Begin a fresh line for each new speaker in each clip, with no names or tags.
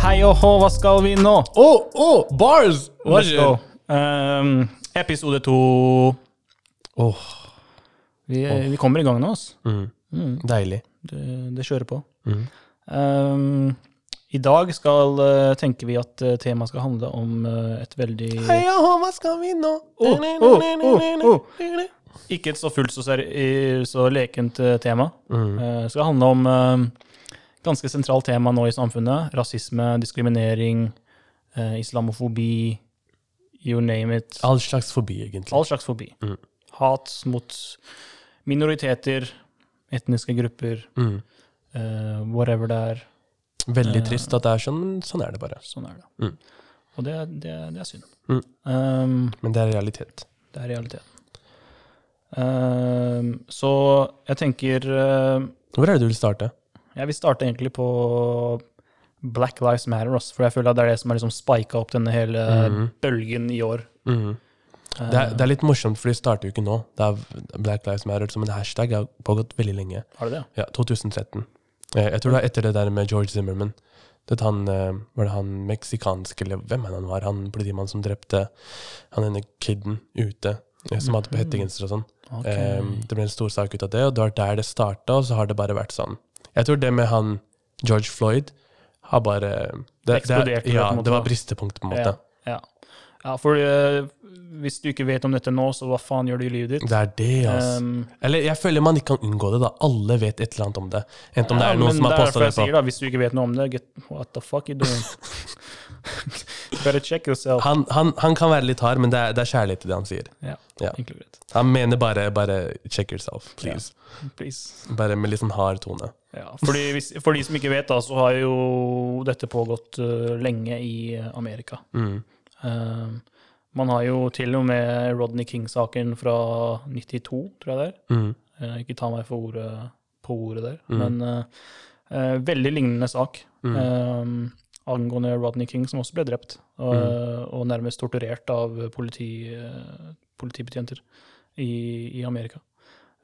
Hei og hå, hva skal vi nå?
Oh, oh, bars!
Let's go. Ehm, episode to.
Åh,
Vi, vi kommer i gang nå, ass. Mm.
deilig.
Det, det kjører på. Ehm, I dag skal, eh, tenker vi at eh, temaet skal handle om eh, et veldig
Hei og hå, hva skal vi nå?
Oh, oh, oh, Ikke et så fullt så, seri så lekent eh, tema. Eh, Det skal handle om eh, ganske sentralt tema nå i samfunnet. Rasisme, diskriminering, eh, islamofobi, you name it.
All slags fobi, egentlig.
All slags fobi.
Mm.
Hat mot minoriteter, etniske grupper,
Mm.
eh, whatever det er.
Veldig trist at det er sånn, men sånn er det bare.
Sånn er det.
Mm.
Og det, er- det, er- det er synd.
Mm.
Um,
Men det er realitet.
Det er realiteten. Ehm, så jeg tenker eh,
Hvor er det du vil starte?
Jeg vil starte egentlig på Black Lives Matter, også, for jeg føler at det er det som har liksom spika opp denne hele bølgen i år.
Mm. Mhm. Det er, det er litt morsomt, for de starter jo ikke nå. Det er Black Lives Matter som en hashtag har pågått veldig lenge.
Eh, Har det det?
Ja, 2013. Eh, Jeg tror det er etter det der med George Zimmerman. Det er han, eh, var det han meksikanske, eller hvem er det han var? Han politimannen som drepte han ene kiden ute, eh, som hadde på hettegenser og sånn.
Ok.
Eh, Det ble en stor sak ut av det, og det var der det starta, og så har det bare vært sånn. Jeg tror det med han George Floyd har bare det,
Eksploderte,
Det, ja,
på en måte,
det var
da.
bristepunktet, på en
Ja,
måte.
ja. ja for eh, hvis du ikke vet om dette nå, så hva faen gjør du i livet ditt?
Det er det, altså.
Ehm,
Eller jeg føler man ikke kan unngå det, da. Alle vet et eller annet om det. Enten om det
ja,
er noen
men
som har
det er
posta
derfor
det
jeg
på
sier da, Hvis du ikke vet noe om det, get, what the fuck you doing? Better check yourself.
han, han, han kan være litt hard, men det er, det er kjærlighet i det han sier.
Ja,
Ja.
enkelt og greit.
Han mener bare, bare check yourself, please.
Please.
Bare med litt sånn hard tone.
Ja, fordi hvis, For de som ikke vet, da, så har jo dette pågått øh, lenge i øh, Amerika.
Mm,
Eh, man har jo til og med Rodney King-saken fra 92, tror jeg det er.
mm.
Eh, ikke ta meg for ordet, på ordet der, men eh, eh, veldig lignende sak. eh, angående Rodney King, som også ble drept, og, og nærmest torturert av politi, eh, politibetjenter i, i Amerika.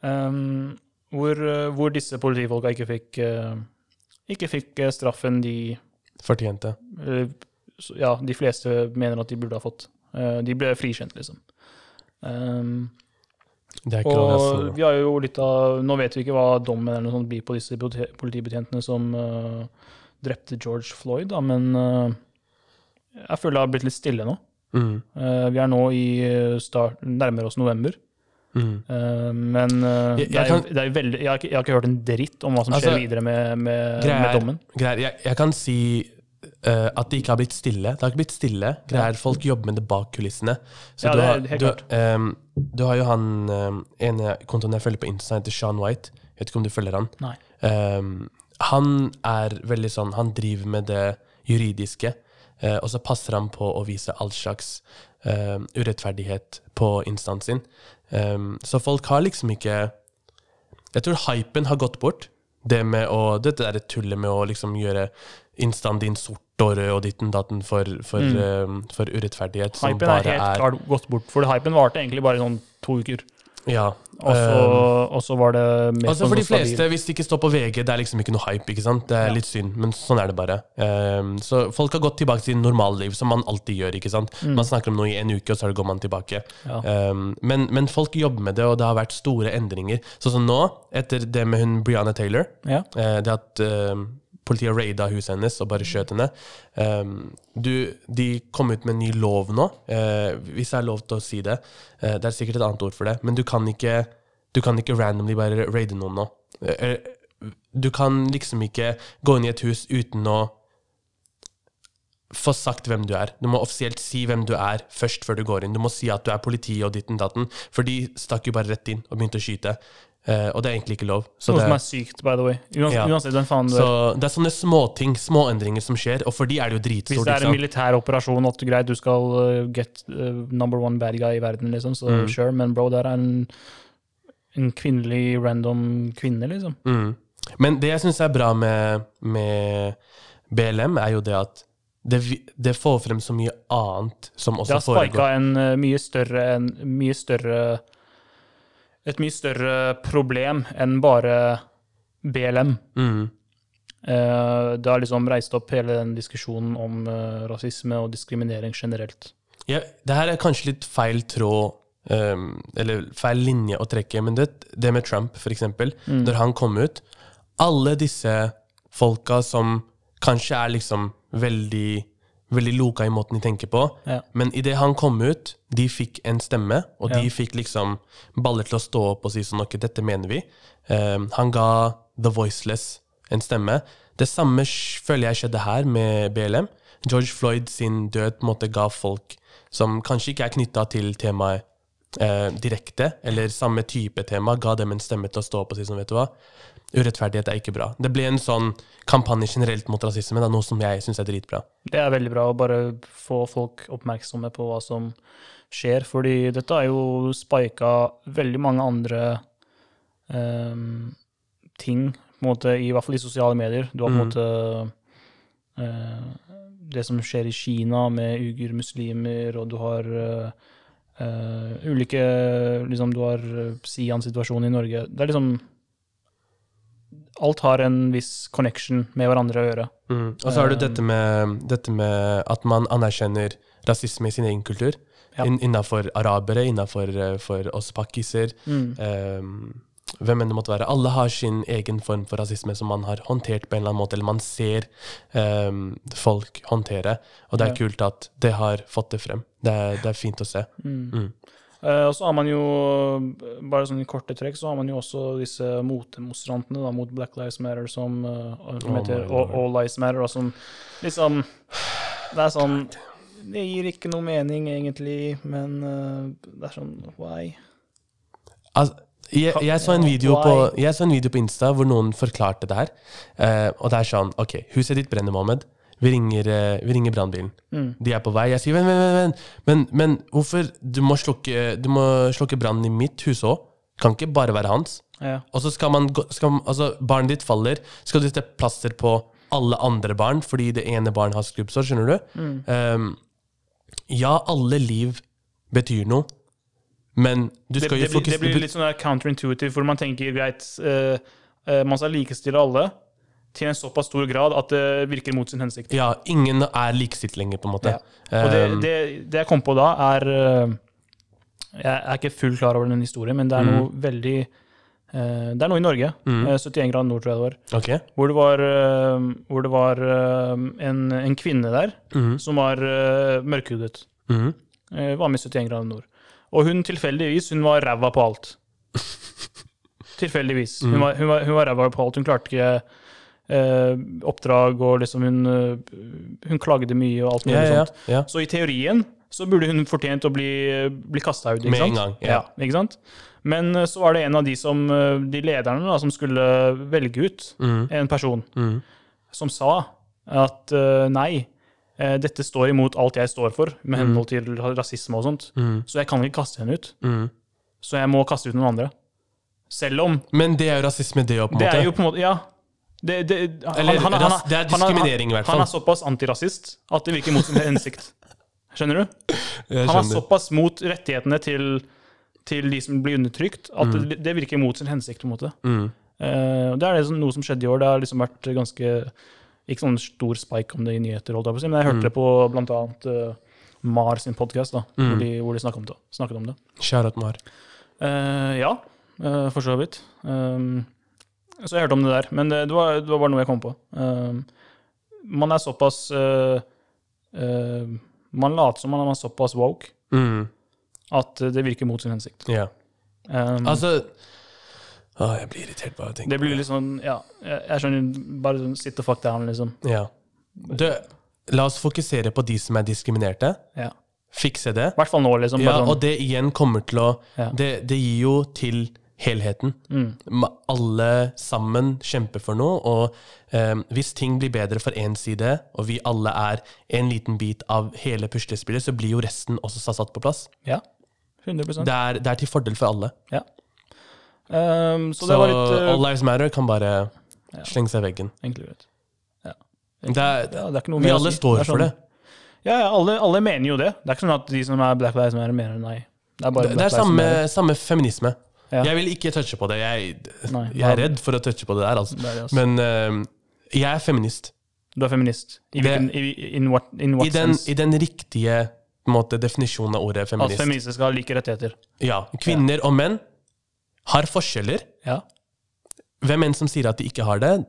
Um, hvor, eh, hvor disse politifolka ikke fikk, eh, ikke fikk eh, straffen de
Fortjente.
eller, så- Ja, de fleste mener at de burde ha fått. Eh, De ble frikjent, liksom. Um,
Det er ikke
og
overraskende.
vi har jo litt av Nå vet vi ikke hva dommen eller noe sånt blir på disse politi- politibetjentene som eh, drepte George Floyd, da, men eh, jeg føler det har blitt litt stille nå.
Mm.
Eh, vi er nå i eh, start, nærmer oss november.
Mm.
Eh, men eh,
Jeg- jeg
det er, jo-
kan-
det er jo veldig, jeg, har ikke, jeg har ikke hørt en dritt om hva som skjer
Altså,
videre med, med,
Greia
Eh, med
er-
dommen.
greia er- jeg, jeg kan si eh, at det ikke har blitt stille. Det har ikke blitt stille. Greia er folk jobber med det bak kulissene. Så
Ja,
du,
det er
har,
helt
du,
klart.
ehm, du har jo han um, ene kontoen jeg følger på Insta, heter Sean White. Jeg vet ikke om du følger han.
Nei.
Ehm, han er veldig sånn Han driver med det juridiske, eh, og så passer han på å vise all slags eh, urettferdighet på instaen sin. Ehm, så folk har liksom ikke Jeg tror hypen har gått bort. Det med å Dette derre tullet med å liksom gjøre instaen din sort og rød og ditten datten for, for, eh, for urettferdighet som
Mm. Hypen
bare
er helt
er
klart gått bort, for hypen varte egentlig bare i sånn to uker.
Ja. ehm,
Og så, og så var det mer
Um, Altså
sånn
For de
stabil-
fleste, hvis det ikke står på VG, det er liksom ikke noe hype. ikke sant? Det er litt synd, men sånn er det bare. Ehm, så folk har gått tilbake til normalliv, som man alltid gjør. ikke sant? Man snakker om noe i en uke, og så går man tilbake.
Mm. Ja.
Ehm, men, men folk jobber med det, og det har vært store endringer. Sånn som nå, etter det med hun Brianna Taylor.
Ja.
Eh, det at eh, politiet raida huset hennes og bare skjøt henne. Um, du, de kom ut med en ny lov nå, eh, hvis det er lov til å si det. Eh, det er sikkert et annet ord for det, men du kan ikke, du kan ikke randomly bare raide noen nå. Eh, eh, du kan liksom ikke gå inn i et hus uten å få sagt hvem du er. Du må offisielt si hvem du er først før du går inn. Du må si at du er politi og ditten datten, for de stakk jo bare rett inn og begynte å skyte. Eh, og det er egentlig ikke lov. Så
Noe
det,
som er sykt, by the way. Uans,
Ja.
Uansett hvem faen du
så
er.
det er sånne småting, småendringer som skjer, og for de er det jo
Hvis
dritstort.
det er en
ikke sant?
militær operasjon, at greit, du skal uh, get uh, number one bad guy i verden, liksom, så
Mm.
sure, men bro, det er en, en kvinnelig random kvinne, liksom.
Mm. Men det jeg syns er bra med, med BLM, er jo det at det, vi- det får frem så mye annet som
Det
også
har sparka
foregår.
en eh, mye større, en mye større Et mye større problem enn bare BLM.
Mm.
Eh, Det har liksom reist opp hele den diskusjonen om eh, rasisme og diskriminering generelt.
Ja, det her er kanskje litt feil tråd, ehm, eller feil linje å trekke, men det, det med Trump, for eksempel,
Mm.
når han kom ut Alle disse folka som kanskje er liksom veldig, veldig loka i måten de tenker på,
Ja.
men idet han kom ut, de fikk en stemme, og
Ja.
de fikk liksom baller til å stå opp og si sånn Ok, dette mener vi. Ehm, han ga The Voiceless en stemme. Det samme sk- føler jeg skjedde her med BLM. George Floyd sin død på en måte ga folk som kanskje ikke er knytta til temaet eh, direkte, eller samme type tema, ga dem en stemme til å stå opp og si sånn, vet du hva, urettferdighet er ikke bra. Det ble en sånn kampanje generelt mot rasisme, da, noe som jeg syns er dritbra.
Det er veldig bra å bare få folk oppmerksomme på hva som skjer, fordi dette har jo spika veldig mange andre ehm, ting, på en måte, i hvert fall i sosiale medier. Du har på en måte eh, det som skjer i Kina med uger-muslimer, og du har eh, eh, ulike liksom Du har eh, Sian-situasjonen i Norge. Det er liksom Alt har en viss connection med hverandre å gjøre.
Mm. Og så har du dette med, dette med at man anerkjenner rasisme i sin egen kultur.
Ja.
In, innafor arabere, innafor eh, for oss pakkiser.
Mm.
ehm, hvem enn det måtte være. Alle har sin egen form for rasisme som man har håndtert på en eller annen måte, eller man ser ehm, folk håndtere. Og det er
Ja.
kult at det har fått det frem. Det er, det er fint å se. Mm.
Eh, og så har man jo, eh, bare sånn i korte trekk, så har man jo også disse motdemonstrantene da, mot Black Lives Matter som, eh, som
Oh
heter
my
All,
lord.
All Lives Matter, og som liksom Det er sånn Det gir ikke noe mening, egentlig, men eh, det er sånn Why?
Altså, jeg, jeg, så en video på, jeg så en video på Insta hvor noen forklarte det her. Eh, og det er sånn OK, huset ditt brenner, Mohammed. Vi ringer, eh, vi ringer brannbilen.
Mm,
De er på vei. Jeg sier vent, vent, vent, vent. Men, men hvorfor Du må slukke, du må slukke brannen i mitt hus òg. Kan ikke bare være hans.
Ja.
Og så skal man gå skal, Altså, barnet ditt faller, skal du sette plaster på alle andre barn fordi det ene barnet har skrubbsår, skjønner du?
Mm.
Ehm, ja, alle liv betyr noe, men du
Det,
skal
det, blir-
jo
det
fokusere
blir litt sånn der counterintuitive, hvor man tenker greit eh, eh, Man skal likestille alle til en såpass stor grad at det virker mot sin hensikt.
Ja, ingen er likestilt lenger, på en måte.
Ja. Og det,
Ehm,
det, det jeg kom på da, er øh, Jeg er ikke fullt klar over den historien, men det er
Mm.
noe veldig øh, Det er noe i Norge, øh, 71 grader nord, tror jeg det var,
ok.
hvor det var, øh, hvor det var øh, en, en kvinne der
Mhm,
som var øh, mørkhudet.
mhm.
Eh, var med i 71 grader nord. Og hun tilfeldigvis, hun var ræva på alt. tilfeldigvis.
Mm.
Hun var, hun, var, hun var ræva på alt. Hun klarte ikke eh, oppdrag, og liksom hun, eh, hun klagde mye og alt mulig
Ja, ja,
sånt.
ja.
Så i teorien så burde hun fortjent å bli, bli kasta ut. ikke
Med en
sant?
gang, ja.
Ja. ikke sant? Men eh, så var det en av de, som, eh, de lederne da, som skulle eh, velge ut
Mhm,
en person,
mhm.
som sa at eh, nei, eh, dette står imot alt jeg står for, med
Mm.
henhold til rasisme og sånt.
Mhm,
Så jeg kan ikke kaste henne ut.
mhm.
Så jeg må kaste ut noen andre. Selv om
Men det er jo rasisme, det òg, på en
Det
måte.
er jo på en måte Ja. Det, det, han-
Eller
han- han-
ras-
han-
det er
han- han-
diskriminering i hvert fall.
Han er såpass antirasist at det virker mot sin hensikt. Skjønner du?
Jeg
Han er
skjønner.
såpass mot rettighetene til, til de som blir undertrykt, at
Mm.
det, det virker mot sin hensikt. på en måte.
Mhm.
Eh, og det er det som, noe som skjedde i år. Det har liksom vært ganske Ikke sånn stor spike om det i nyheter, holdt jeg på å si, men jeg
Mm.
hørte det på bl.a. Uh, Mar sin podkast,
Mm.
hvor de, hvor de snakket, om det, snakket om det.
Shout out, Mar.
Eh, ja, eh, for så vidt. Um, så jeg hørte om det der, men det, det, var, det var bare noe jeg kom på. Um, man er såpass eh, eh, Man later som man er såpass woke
Mhm,
at eh, det virker mot sin hensikt.
Ja.
Um,
Altså Å, jeg blir irritert bare av å tenke
det Ah, blir litt sånn, ja, jeg, jeg skjønner Bare sånn, sit the fuck down, liksom.
Ja. Du, la oss fokusere på de som er diskriminerte.
Ja.
Fikse det.
I hvert fall nå, liksom.
Ja,
Bare sånn,
og det igjen kommer til å
Ja. Mm.
det, det gir jo til helheten. Ma- Alle sammen kjemper for noe, og eh, hvis ting blir bedre for én side, og vi alle er en liten bit av hele puslespillet, så blir jo resten også sa- satt på plass.
ja, 100
Det er, det er til fordel for alle.
ja. Um, så,
Så,
det var litt eh,
All Lives Matter kan bare slenge seg i veggen.
egentlig greit. Ja.
Det er,
Ja, det er ikke noe
vi
mer å
alle
si.
står
er
for
sånn-
det.
Ja, ja alle, alle mener jo det. Det er ikke sånn at de som er Black Lives Matter, mener nei. Det er bare
Det, det
Black
er
Lives
samme,
Matter.
samme feminisme.
Ja.
Jeg vil ikke touche på det. Jeg,
Nei,
jeg er
nei.
redd for å touche på det der, altså.
Det er det, altså.
Men eh, jeg er feminist.
Du er feminist. I
Det-
hvilken, i, in what, in what
I den,
sense?
i den riktige på en måte, definisjonen av ordet
At
feminist.
feminister skal ha like rettigheter.
Ja, Kvinner og menn har forskjeller.
Ja.
Hvem enn som sier at de ikke har det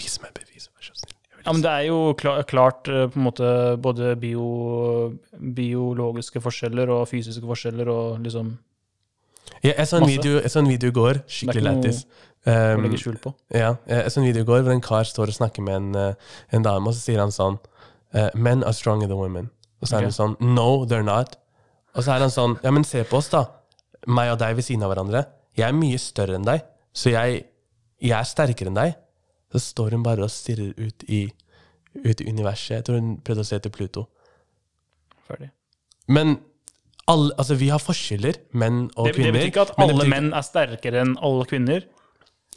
Vis meg bevis, vær så snill. Jeg vil
Ja, men det er jo kla- klart eh, på en måte både bio, biologiske forskjeller og fysiske forskjeller og liksom
Ja, jeg, så en
Masse.
video, jeg så en video i går,
Det
skikkelig
er ikke noe
lættis.
å
Um,
legge skjul på.
ja, jeg så en video i går hvor en kar står og snakker med en, eh, en dame, og så sier han sånn eh, Men are stronger than women. Og så er han
Ok.
sånn No, they're not. Og så er han sånn Ja, men se på oss, da. Meg og deg ved siden av hverandre. Jeg er mye større enn deg, så jeg, jeg er sterkere enn deg. Så står hun bare og stirrer ut i, ut i universet. Jeg tror hun prøvde å se til Pluto.
Ferdig.
Men alle, altså, vi har forskjeller, menn og
Det, det
kvinner.
betyr ikke at
men det
alle
betyr-
menn er sterkere enn alle kvinner.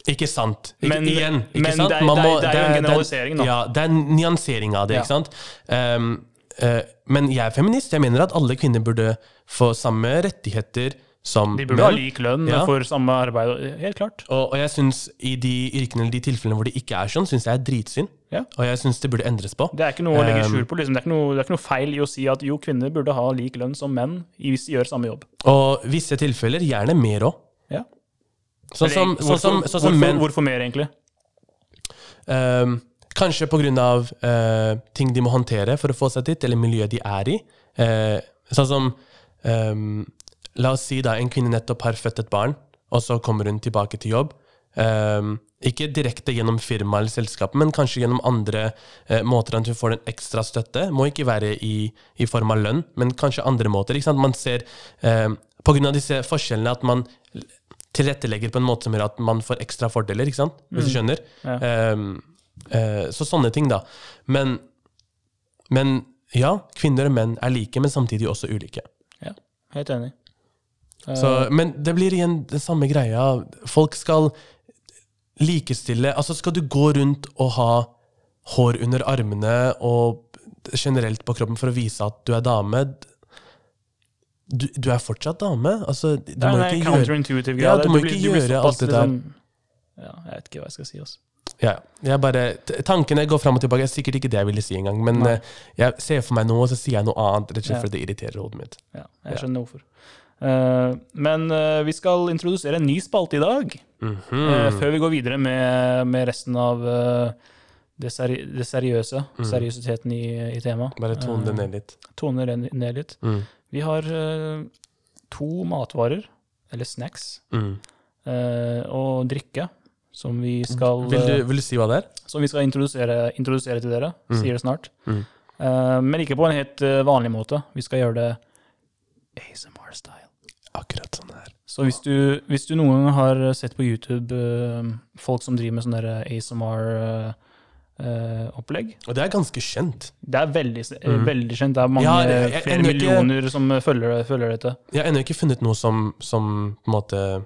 Ikke sant. Ikke,
Men-
igjen, ikke
men
sant?
det er-
Man
det er- det er jo en
det det
generalisering, da.
Ja, det er en nyansering av det,
Ja.
ikke sant? Ehm, eh, men jeg er feminist. Jeg mener at alle kvinner burde få samme rettigheter som
De burde ha lik lønn
Ja.
for samme arbeid. og- Helt klart.
Og, og jeg synes i de yrkene eller de tilfellene hvor det ikke er sånn, syns jeg er dritsyn.
Ja.
Og jeg syns det burde endres på.
Det er ikke noe å legge
Um,
skjul på. Liksom. Det, er ikke noe, det er ikke noe feil i å si at jo, kvinner burde ha lik lønn som menn i- hvis de gjør samme jobb.
Og visse tilfeller gjerne mer òg.
Ja.
Sånn som,
Eller,
sånn som,
hvorfor-
sånn som
hvorfor,
menn.
Hvorfor mer, egentlig?
Ehm, kanskje pga. Uh, ting de må håndtere for å få seg dit, eller miljøet de er i. Eh, sånn som ehm, La oss si da en kvinne nettopp har født et barn, og så kommer hun tilbake til jobb. Ehm, ikke direkte gjennom firma eller selskapet, men kanskje gjennom andre eh, måter at hun får en ekstra støtte. Må ikke være i, i form av lønn, men kanskje andre måter. Ikke sant? Man ser ehm, på grunn av disse forskjellene at man tilrettelegger på en måte som gjør at man får ekstra fordeler, ikke sant? hvis du skjønner.
Ja.
Ehm, eh, så sånne ting, da. Men, men ja, kvinner og menn er like, men samtidig også ulike.
Ja, helt enig.
Så, men det blir igjen den samme greia. Folk skal likestille Altså, skal du gå rundt og ha hår under armene og generelt på kroppen for å vise at du er dame? Du, du er fortsatt dame. Altså, du
Det er
må
en
ikke gjøre
counterintuitive greie.
Ja, du må
blir-
ikke
blir
gjøre
såpass,
alt det der.
liksom- ja, jeg vet ikke hva jeg skal si. Altså.
Ja, jeg bare, t- Tankene går fram og tilbake. Det er sikkert ikke det jeg ville si engang. Men
Nei.
eh, jeg ser for meg noe, og så sier jeg noe annet. Rett og slett
Ja.
fordi det irriterer hodet mitt.
Ja, jeg skjønner hvorfor. Eh, men eh, vi skal introdusere en ny spalte i dag,
Mhm.
eh,
Mm.
før vi går videre med, med resten av eh, det, seri det seriøse. Seriøsiteten i, i temaet.
Mm. Bare tone det
Eh,
ned litt.
tone det ned litt.
Mm.
Vi har eh, to matvarer, eller snacks,
Mm.
eh, og drikke, som vi skal eh,
Vil, du, vil du si hva det er?
som vi skal introdusere, introdusere til dere. Sier det snart.
Mm.
Eh, men ikke på en helt eh, vanlig måte. Vi skal gjøre det ASMR-style.
Akkurat sånn her.
Så hvis du, hvis du noen gang har sett på YouTube eh, folk som driver med sånn eh, ASMR-opplegg
Og det er ganske kjent.
eh, Det er veldig, eh,
Mm.
veldig kjent. Det er mange,
Ja, jeg- jeg-
flere
jeg- jeg-
millioner som eh, følger, følger dette.
Jeg har ennå ikke funnet noe som, som på en måte jeg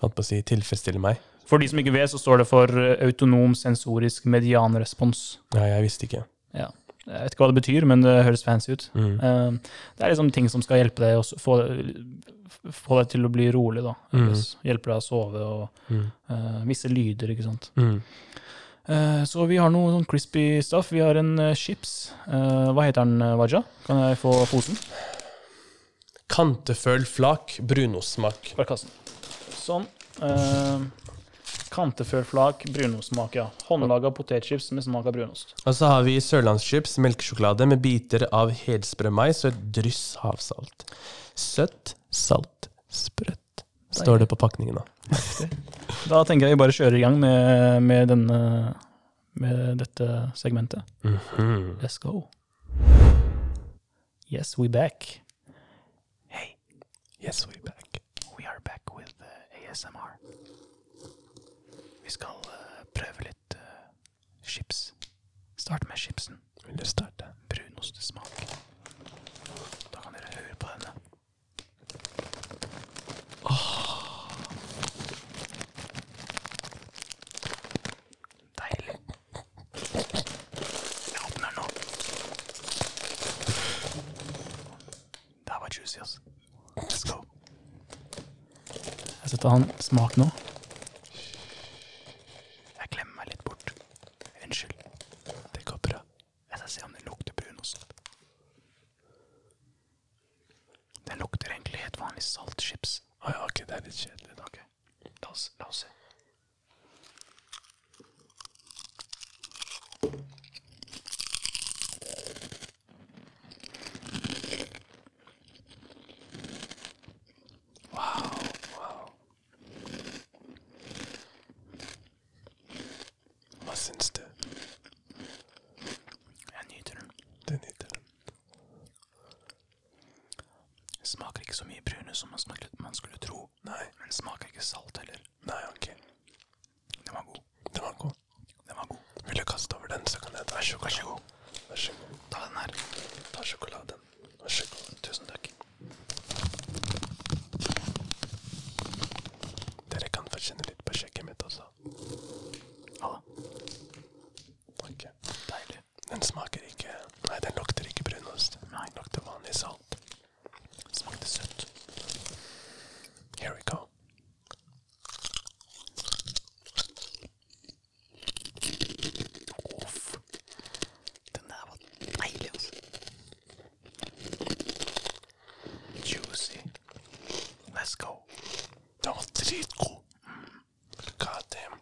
holdt på å si, tilfredsstiller meg.
For de som ikke vet, så står det for eh, autonom sensorisk medianrespons.
Ja, jeg visste ikke.
Ja. Jeg vet ikke hva det betyr, men det høres fancy ut.
Mm.
Eh, det er liksom ting som skal hjelpe deg å s- få, få deg til å bli rolig. da.
Mm.
S- Hjelpe deg å sove og
Mm.
eh, visse lyder, ikke sant.
Mm.
Eh, så vi har noe sånn crispy stuff. Vi har en eh, chips. Eh, hva heter den, eh, Waja? Kan jeg få posen?
Kanteføl flak, brunostsmak.
Bare kast den. Sånn. Uh, Kanteførflak brunostsmak, ja. Håndlaga potetchips med smak av brunost.
Og så har vi sørlandschips, melkesjokolade med biter av helsprømais og et dryss havsalt. Søtt, salt, sprøtt, står det på pakningen da.
Da tenker jeg vi bare kjører i gang med, med, denne, med dette segmentet. Let's go. Yes, we back.
Yes, we back.
We are back with eh, ASMR. Vi skal eh, prøve litt eh, chips. Start med chipsen.
Vil du starte?
Brunostesmak. Da kan dere høre på denne. Deilig. juicy, ass. Let's go. Jeg setter han smak nå. Jeg klemmer meg litt bort. Unnskyld. Det går bra. Jeg skal se om det lukter brunost. Den lukter egentlig helt vanlig saltchips.
Å ja, ok, det er litt kjedelig.
Ok, la oss, la oss se.
Hva syns du?
Jeg nyter den.
Du nyter den.
Smaker ikke så mye brune som man skulle, man skulle tro.
Nei,
Men smaker ikke salt heller.
nei, ok.
Den var god.
Den var god.
Den var god.
Vil du kaste over den, så kan jeg ta sjokolade. Vær så god.
Ta den her.
Ta sjokoladen. Vær så god. Tusen takk. Dere kan få kjenne litt på kjøkkenet mitt også.
Ha det.
Ok.
Deilig.
Den smaker ikke Nei, den lukter ikke brunost.
Nei.
Den lukter vanlig salt.
Smakte søtt.
Here we go.
Uff. Den der var deilig, altså. Juicy. Let's go.
Den var dritgod.
Mm.
God damn.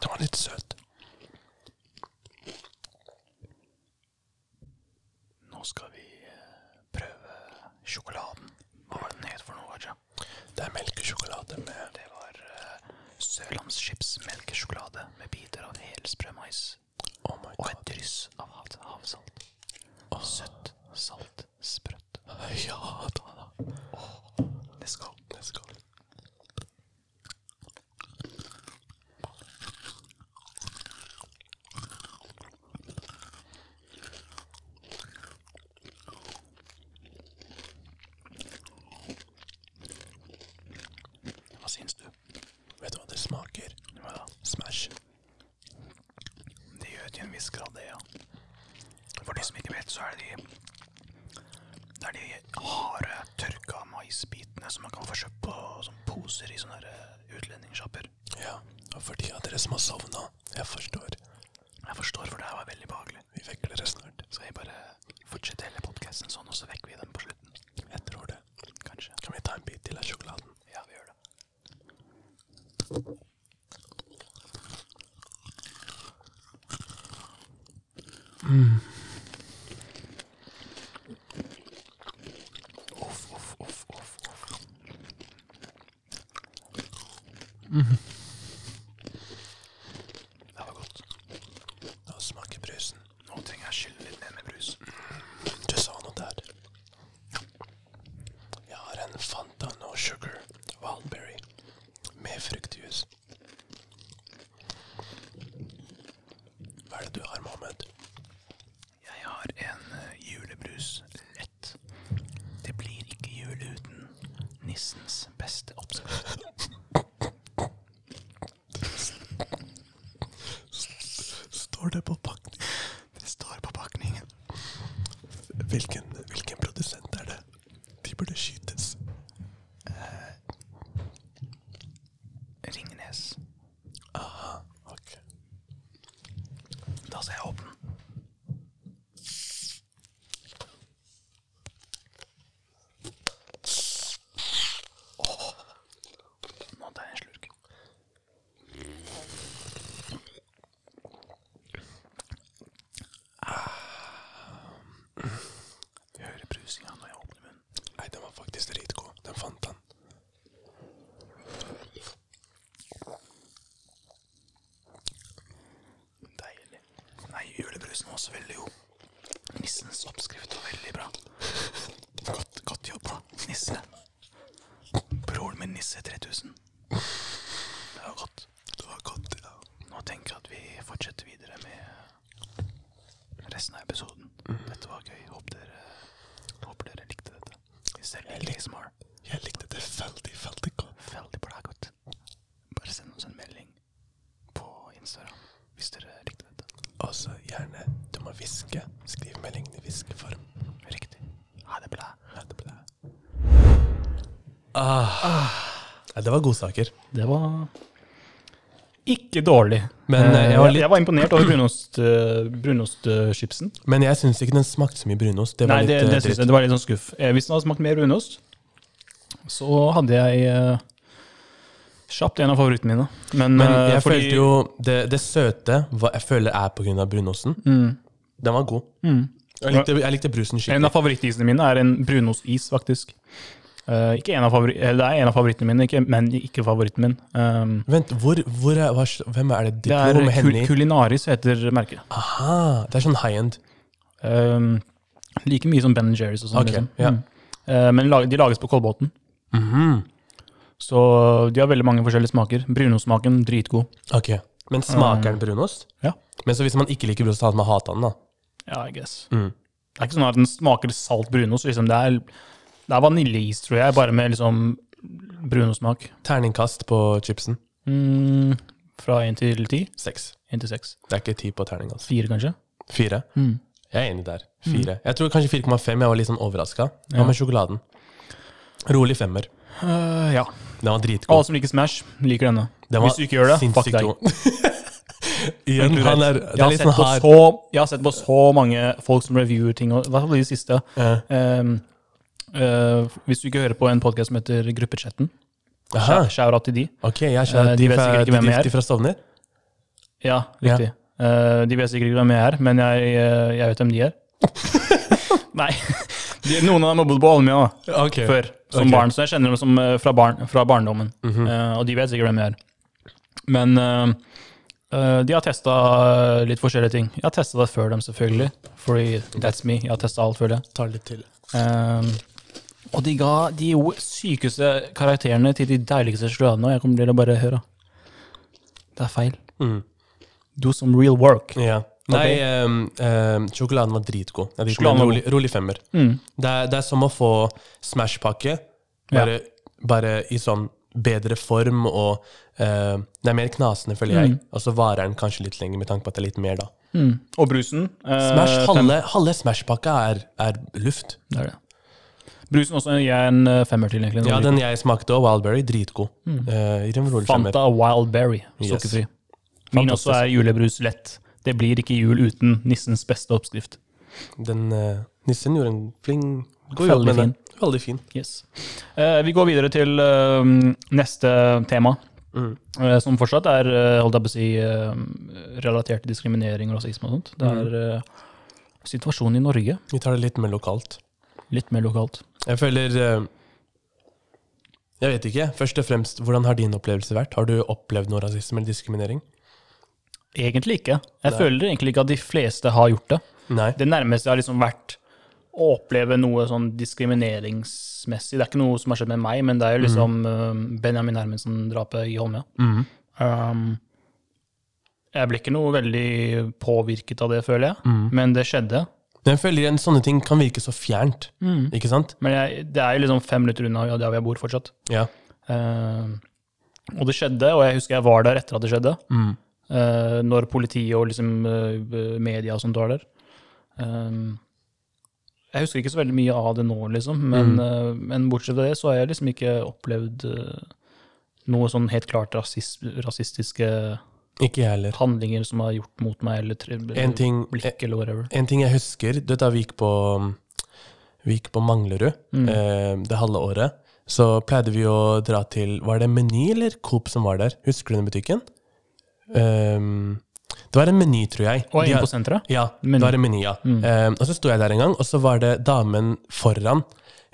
Den var litt søt.
Nå skal vi eh, prøve sjokoladen. Hva var den het for noe, Raja?
Det er melkesjokolade med
Det var uh, Sørlandschips melkesjokolade med biter av helsprø mais
Oh my
og
god.
et dryss av hav havsalt. Søtt, salt, sprøtt.
Ja da.
Let's go.
Let's go.
Hva syns du?
Vet du hva det smaker?
Hva da?
Smash.
Det gjør til en viss grad det, ja. For de som ikke vet, så er det de Det er de harde, tørka maisbitene som man kan få kjøpt på som poser i sånne her, eh, utlendingssjapper.
Ja, og for de av dere som har sovna, jeg forstår.
Jeg forstår, for det her var veldig behagelig.
Vi vekker dere snart.
Skal vi bare fortsette hele podkasten sånn, og så vekker vi dem på slutten?
Jeg tror det.
Kanskje.
Kan vi ta en bit til av sjokoladen?
Ja, vi gjør det.
Uff, uff, uff, uff. uff.
Det var godt.
La oss smake brusen.
Nå trenger jeg skylle litt ned med brus.
Du sa noe der. Jeg har en Fanta No Sugar Wildberry med fruktjus. Hva er det du har, Mohammed?
Jeg har en eh, julebrus lett. Det blir ikke jul uten nissens beste oppskrift.
Står det på pakken?
Det står på pakningen.
Hvilken, hvilken produsent er det? De burde skytes.
Ringnes.
Ok.
Da skal jeg åpne den. Åh. Nå tar jeg en slurk. Ah. Jeg hører brusinga når jeg åpner munnen.
Nei, den var faktisk dritgod. Den fant han.
Deilig. Nei, julebrusen var også veldig god. Nissens oppskrift var veldig bra. Godt, godt jobba, Nisse. Broren min Nisse 3000. Det var godt.
Det var godt, ja.
Nå tenker jeg at vi fortsetter videre med resten av episoden. Dette var gøy. Håper dere, håper dere likte dette. Hvis dere liker det som har
Jeg likte det veldig, veldig godt.
veldig bra godt, bare send oss en melding på Instagram hvis dere likte dette.
Og så Altså, gjerne, du må hviske. Skriv meldingen i hviskeform.
Riktig. Ha det bra.
Ha det bra. Ah. Ja, det var godsaker.
Det var ikke dårlig.
Men,
Eh,
jeg var
jeg,
litt-
jeg var imponert over brunostchipsen. Brunost, eh, chipsen.
Men jeg syns ikke den smakte så mye brunost. Det var
Nei, det,
litt eh,
det, synes
dritt.
jeg, det var litt sånn skuff. Eh, hvis den hadde smakt mer brunost, så hadde jeg eh, kjapt en av favorittene mine. Men,
Men
eh,
jeg
fordi-
følte jo det, det søte hva jeg føler er pga. brunosten.
Mm.
Den var god. Jeg, likte, jeg likte brusen
En
skikkelig.
av favorittisene mine er en brunostis, faktisk. Eh, ikke en av favori eller det er en av favorittene mine, ikke, men ikke favoritten min. Um,
Vent, hvor, hvor er, hva, hvem er det?
det er
Diplom
kul
Henny?
Kulinaris heter merket.
Aha, det er sånn high end.
Um, like mye som Ben Jerry's og sånn.
Ok,
liksom.
ja. Mhm.
Mm. Eh, men lag- de lages på Kolbotn. Så de har veldig mange forskjellige smaker. Brunostsmaken, dritgod.
Ok, Men smaker den brunost?
Mm. Ja.
Men så hvis man ikke liker brunost, så hadde man hata den, da.
Ja, I guess.
Mm.
Det er ikke sånn at den smaker salt brunost. Liksom. Det er, det er vaniljeis, tror jeg, bare med liksom brunostsmak.
Terningkast på chipsen.
Mm, fra én til ti.
Seks.
Én til seks.
Det er ikke ti på terning, altså.
Fire, kanskje?
Fire.
Mm.
Jeg er enig der. Fire. Jeg tror kanskje 4,5. Jeg var litt sånn overraska. Hva
Ja.
med sjokoladen? Rolig femmer.
Eh, ja.
Den var dritgod.
Alle som liker Smash, liker denne.
Den var
Hvis du ikke gjør det, fuck
sinnssykt
deg.
god. Igjen, han er,
jeg,
det er
har
litt
sett
sånn
på
hard
så, jeg har sett på så mange folk som reviewer ting, og i hvert fall de siste.
Ja.
Ehm, eh, hvis du ikke hører på en podkast som heter Gruppechatten,
Aha.
shout-out til de.
Ok, jeg skjønner.
Eh,
De,
de vet
fra-
sikkert ikke
de,
hvem jeg
de,
er.
de fra Stovner?
Ja, riktig. Eh, de vet sikkert ikke hvem jeg er, men jeg, eh, jeg vet hvem de er. Nei. De, noen av dem har bodd på Holmlia da,
Ok.
før, som
Ok.
barn, så jeg kjenner dem som, eh, fra, barn, fra barndommen. Eh, og de vet sikkert hvem jeg er. Men eh, eh, de har testa litt forskjellige ting. Jeg har testa det før dem, selvfølgelig. Fordi that's me. Jeg har testa alt, føler jeg.
Tar litt til.
Ehm, og de ga de jo sykeste karakterene til de deiligste sjokoladene, og jeg kommer til å bare høre. Det er feil.
Mm.
Do some real work.
Ja. Nei, ehm, ehm, sjokoladen var dritgod. Jeg liker
Sjokoladen
den.
var
rolig, rolig femmer. Det, er, det er som å få Smash-pakke, bare, bare i sånn bedre form, og eh, det er mer knasende, føler jeg.
Mm.
Og så varer den kanskje litt lenger, med tanke på at det er litt mer, da.
Og brusen. eh,
Smash,
fem-
halve halve Smash-pakka er, er luft.
Det er det. Brusen også gir jeg en eh, femmer til, egentlig.
Ja, den jeg smakte, og Wildberry, dritgod.
Mm.
Eh, I den rolig femmer.
Fanta Wild Berry, sukkerfri. Min også er julebrus lett. Det blir ikke jul uten nissens beste oppskrift.
Den, eh, Nissen gjorde en fling god
Veldig
jobb med den.
fin.
Veldig fin.
Yes. Eh, vi går videre til eh, neste tema,
Mm.
eh, som fortsatt er eh, holdt jeg på å si, eh, relatert til diskriminering og rasisme og sånt. Det er eh, situasjonen i Norge,
Vi tar det litt mer lokalt.
litt mer lokalt.
Jeg føler eh, Jeg vet ikke. Først og fremst, hvordan har din opplevelse vært? Har du opplevd noe rasisme eller diskriminering?
Egentlig ikke. Jeg føler egentlig ikke at de fleste har gjort det.
Nei.
Det nærmeste har liksom vært å oppleve noe sånn diskrimineringsmessig. Det er ikke noe som har skjedd med meg, men det er jo liksom eh, Benjamin Hermansen-drapet i Holmlia. Um, jeg ble ikke noe veldig påvirket av det, føler jeg, men det skjedde.
Men jeg føler igjen, sånne ting kan virke så fjernt. Ikke sant?
Men jeg, det er jo liksom fem minutter unna ja, der hvor jeg bor fortsatt.
Ja.
Um, og det skjedde, og jeg husker jeg var der etter at det skjedde.
Mm.
Uh, når politiet og liksom uh, media og sånt var der. Um, jeg husker ikke så veldig mye av det nå, liksom, men,
Mm.
uh, men bortsett fra det så har jeg liksom ikke opplevd uh, noe sånn helt klart rasis rasistiske
Ikke jeg heller.
handlinger som har gjort mot meg, eller tre-
En ting,
blikk, eller whatever.
en ting jeg husker Du vet da vi gikk på, vi gikk på Manglerud eh, det halve året, så pleide vi å dra til Var det Meny eller Coop som var der? Husker du den butikken? Ehm, det var en Meny, tror jeg.
Og
De
inn
har-
på senteret?
Ja,
Meny. Mm.
det var en meny, ja. Eh, og så sto jeg der en gang, og så var det damen foran.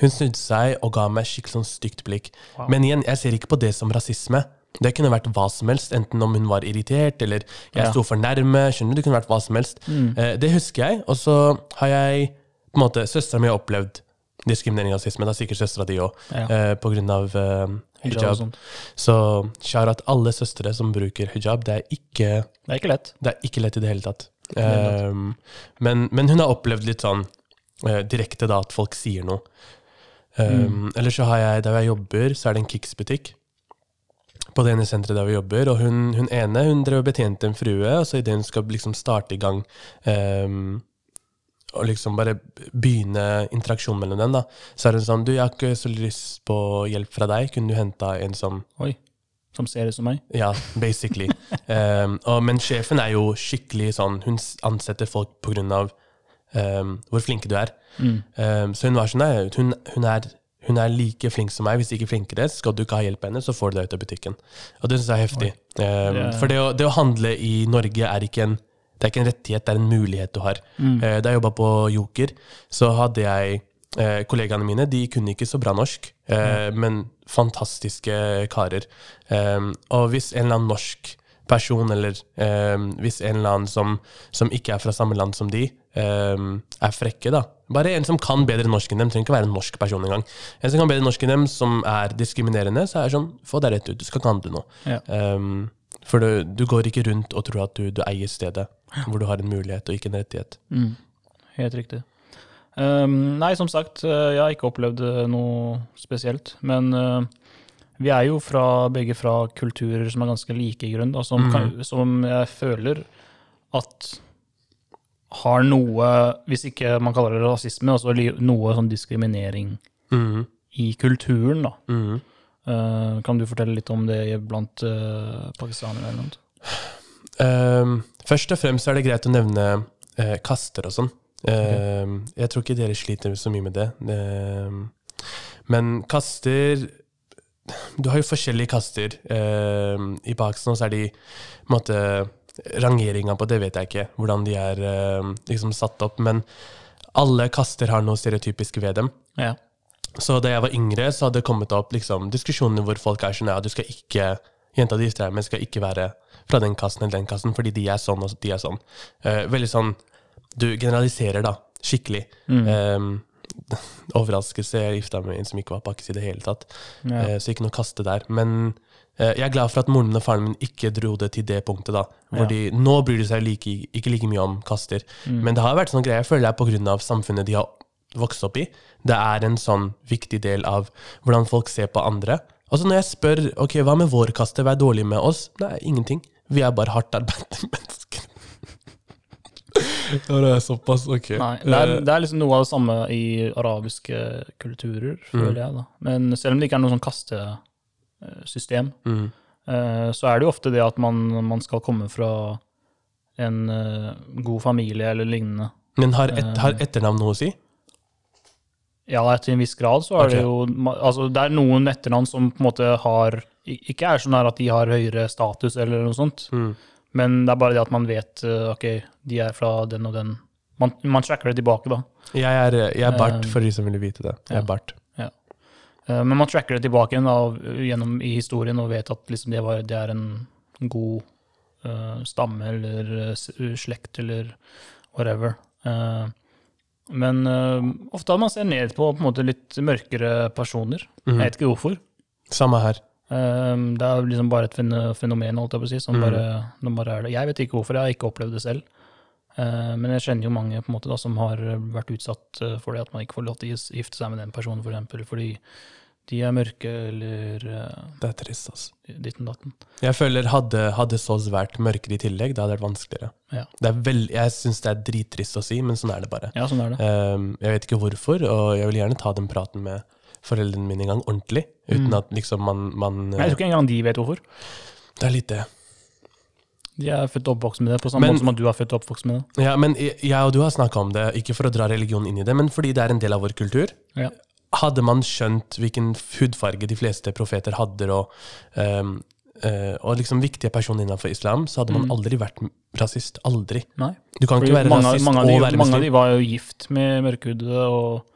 Hun snudde seg og ga meg skikkelig sånn stygt blikk. Men igjen, jeg ser ikke på det som rasisme. Det kunne vært hva som helst, enten om hun var irritert, eller jeg
Ja. Mm.
sto for nærme, skjønner du, det kunne vært hva som helst. Eh, det husker jeg, og så har jeg, på en måte, søstera mi har opplevd diskriminering og rasisme, det er sikkert søstera di òg,
Ja.
eh, på grunn av eh,
Hijab og sånn.
hijab.
sånt.
så shout-out alle søstre som bruker hijab, det er ikke
Det er ikke lett.
det er ikke lett i det hele tatt. Ehm, men, men hun har opplevd litt sånn eh, direkte da, at folk sier noe. Um, Eller så har jeg, der jeg jobber, så er det en Kicks-butikk. På det ene senteret der vi jobber, og hun, hun ene hun drev og betjente en frue, og så idet hun skal liksom starte i gang ehm, og liksom bare begynne interaksjonen mellom dem, da. Så er hun sånn Du, jeg har ikke så lyst på hjelp fra deg. Kunne du henta en som
Oi. Som ser ut som meg.
Ja, basically. um, og, men sjefen er jo skikkelig sånn Hun s- ansetter folk på grunn av um, hvor flinke du er.
Mm.
Um, så hun var sånn Nei, hun, hun, er, hun er like flink som meg, hvis ikke flinkere. Skal du ikke ha hjelp av henne, så får du deg ut av butikken. Og det syns jeg er heftig. Um,
Det er-
For det å, det å handle i Norge er ikke en det er ikke en rettighet, det er en mulighet du har. Eh, Da jeg jobba på Joker, så hadde jeg eh, kollegaene mine. De kunne ikke så bra norsk, eh, men fantastiske karer. Um, og hvis en eller annen norsk person, eller um, hvis en eller annen som, som ikke er fra samme land som de, um, er frekke, da Bare en som kan bedre norsk enn dem, trenger ikke være en norsk person engang. En som kan bedre norsk enn dem, som er diskriminerende, så er det sånn, få deg rett ut, du skal ikke handle nå.
Ja.
Um, for du, du går ikke rundt og tror at du, du eier stedet, hvor du har en mulighet og ikke en rettighet.
Helt riktig. Ehm, nei, som sagt, eh, jeg har ikke opplevd eh, noe spesielt. Men eh, vi er jo fra, begge fra kulturer som er ganske like i grunnen, da, som, kan,
Mhm.
som jeg føler at har noe, hvis ikke man kaller det rasisme, altså li- noe sånn diskriminering
Mhm,
i kulturen, da.
mhm.
Eh, kan du fortelle litt om det blant eh, pakistanere eller noe? sånt?
Um, først og fremst er det greit å nevne eh, kaster og sånn. Um, Jeg tror ikke dere sliter så mye med det. Um, men kaster Du har jo forskjellige kaster. Um, I Pakistan så er de på en måte, Rangeringa på det vet jeg ikke, hvordan de er um, liksom satt opp. Men alle kaster har noe stereotypisk ved dem.
Ja.
Så da jeg var yngre, så hadde det kommet opp liksom, diskusjoner hvor folk er sånn ja, du skal ikke, jenta di gifter deg med, skal ikke være fra den kassen eller den kassen, fordi de er sånn og de er sånn. Eh, veldig sånn Du generaliserer, da. Skikkelig. Eh, overraskelse, jeg gifta meg med en som ikke var pakkis i det hele tatt.
Ja.
Eh, så ikke noe kaste der. Men eh, jeg er glad for at moren min og faren min ikke dro det til det punktet, da. Hvor
Ja.
de, nå bryr de seg like, ikke like mye om kaster. Men det har vært sånn greie, jeg føler det er på grunn av samfunnet de har vokst opp i. Det er en sånn viktig del av hvordan folk ser på andre. Og så når jeg spør ok, hva med vår kaste, hva er dårlig med oss? Nei, ingenting. Vi er bare hardt arbeidende mennesker. Ja, det er såpass, ok.
Nei, det
Eh,
er, det er liksom noe av det samme i arabiske kulturer, føler jeg. da. Men selv om det ikke er noe sånn kastesystem,
Mm.
eh, så er det jo ofte det at man, man skal komme fra en eh, god familie eller lignende.
Men har, et, har etternavn noe å si?
Ja, til en viss grad så er
Ok.
det jo ma- altså Det er noen etternavn som på en måte har i- Ikke er sånn her at de har høyere status eller noe sånt,
Mm.
men det er bare det at man vet eh, OK, de er fra den og den. Man, man tracker det tilbake, da.
Jeg er, jeg er Bart, for de som ville vite det. Jeg er Bart.
Eh, Men man tracker det tilbake igjen da, eh, gjennom i historien og vet at liksom det, var, det er en god eh, stamme eller eh, s- slekt eller whatever. Eh, men eh, ofte har man ser ned på, på en måte litt mørkere personer. Jeg vet ikke hvorfor.
Samme her.
Eh, det er liksom bare et fen- fenomen, holdt jeg på å si. Som bare, som bare er det. Jeg vet ikke hvorfor, jeg har ikke opplevd det selv. Eh, men jeg kjenner jo mange på en måte da, som har vært utsatt eh, for det at man ikke får lov til å gis- gifte seg med den personen, for eksempel, fordi de er mørke eller eh,
Det er trist, altså.
ditten datten.
Jeg føler hadde, hadde så svært mørkere i tillegg, det hadde vært vanskeligere.
Ja.
Det er vel, jeg syns det er drittrist å si, men sånn er det bare.
Ja, sånn er det.
Ehm, jeg vet ikke hvorfor, og jeg vil gjerne ta den praten med foreldrene mine en gang ordentlig. Uten at liksom man, man
Men jeg tror ikke engang de vet hvorfor.
Det er litt det.
De er født og oppvokst med det, på samme
Men-
måte som at du er født og oppvokst med det.
Ja, men jeg jeg og du har snakka om det, ikke for å dra religion inn i det, men fordi det er en del av vår kultur.
Ja.
Hadde man skjønt hvilken hudfarge de fleste profeter hadde, og, ehm, eh, og liksom viktige personer innenfor islam, så hadde man aldri vært rasist. Aldri.
Nei.
Du kan
Mm. Fordi
ikke være
mange,
rasist
mange, av de,
og være
mange av
muslim.
de var jo gift med mørkhudede og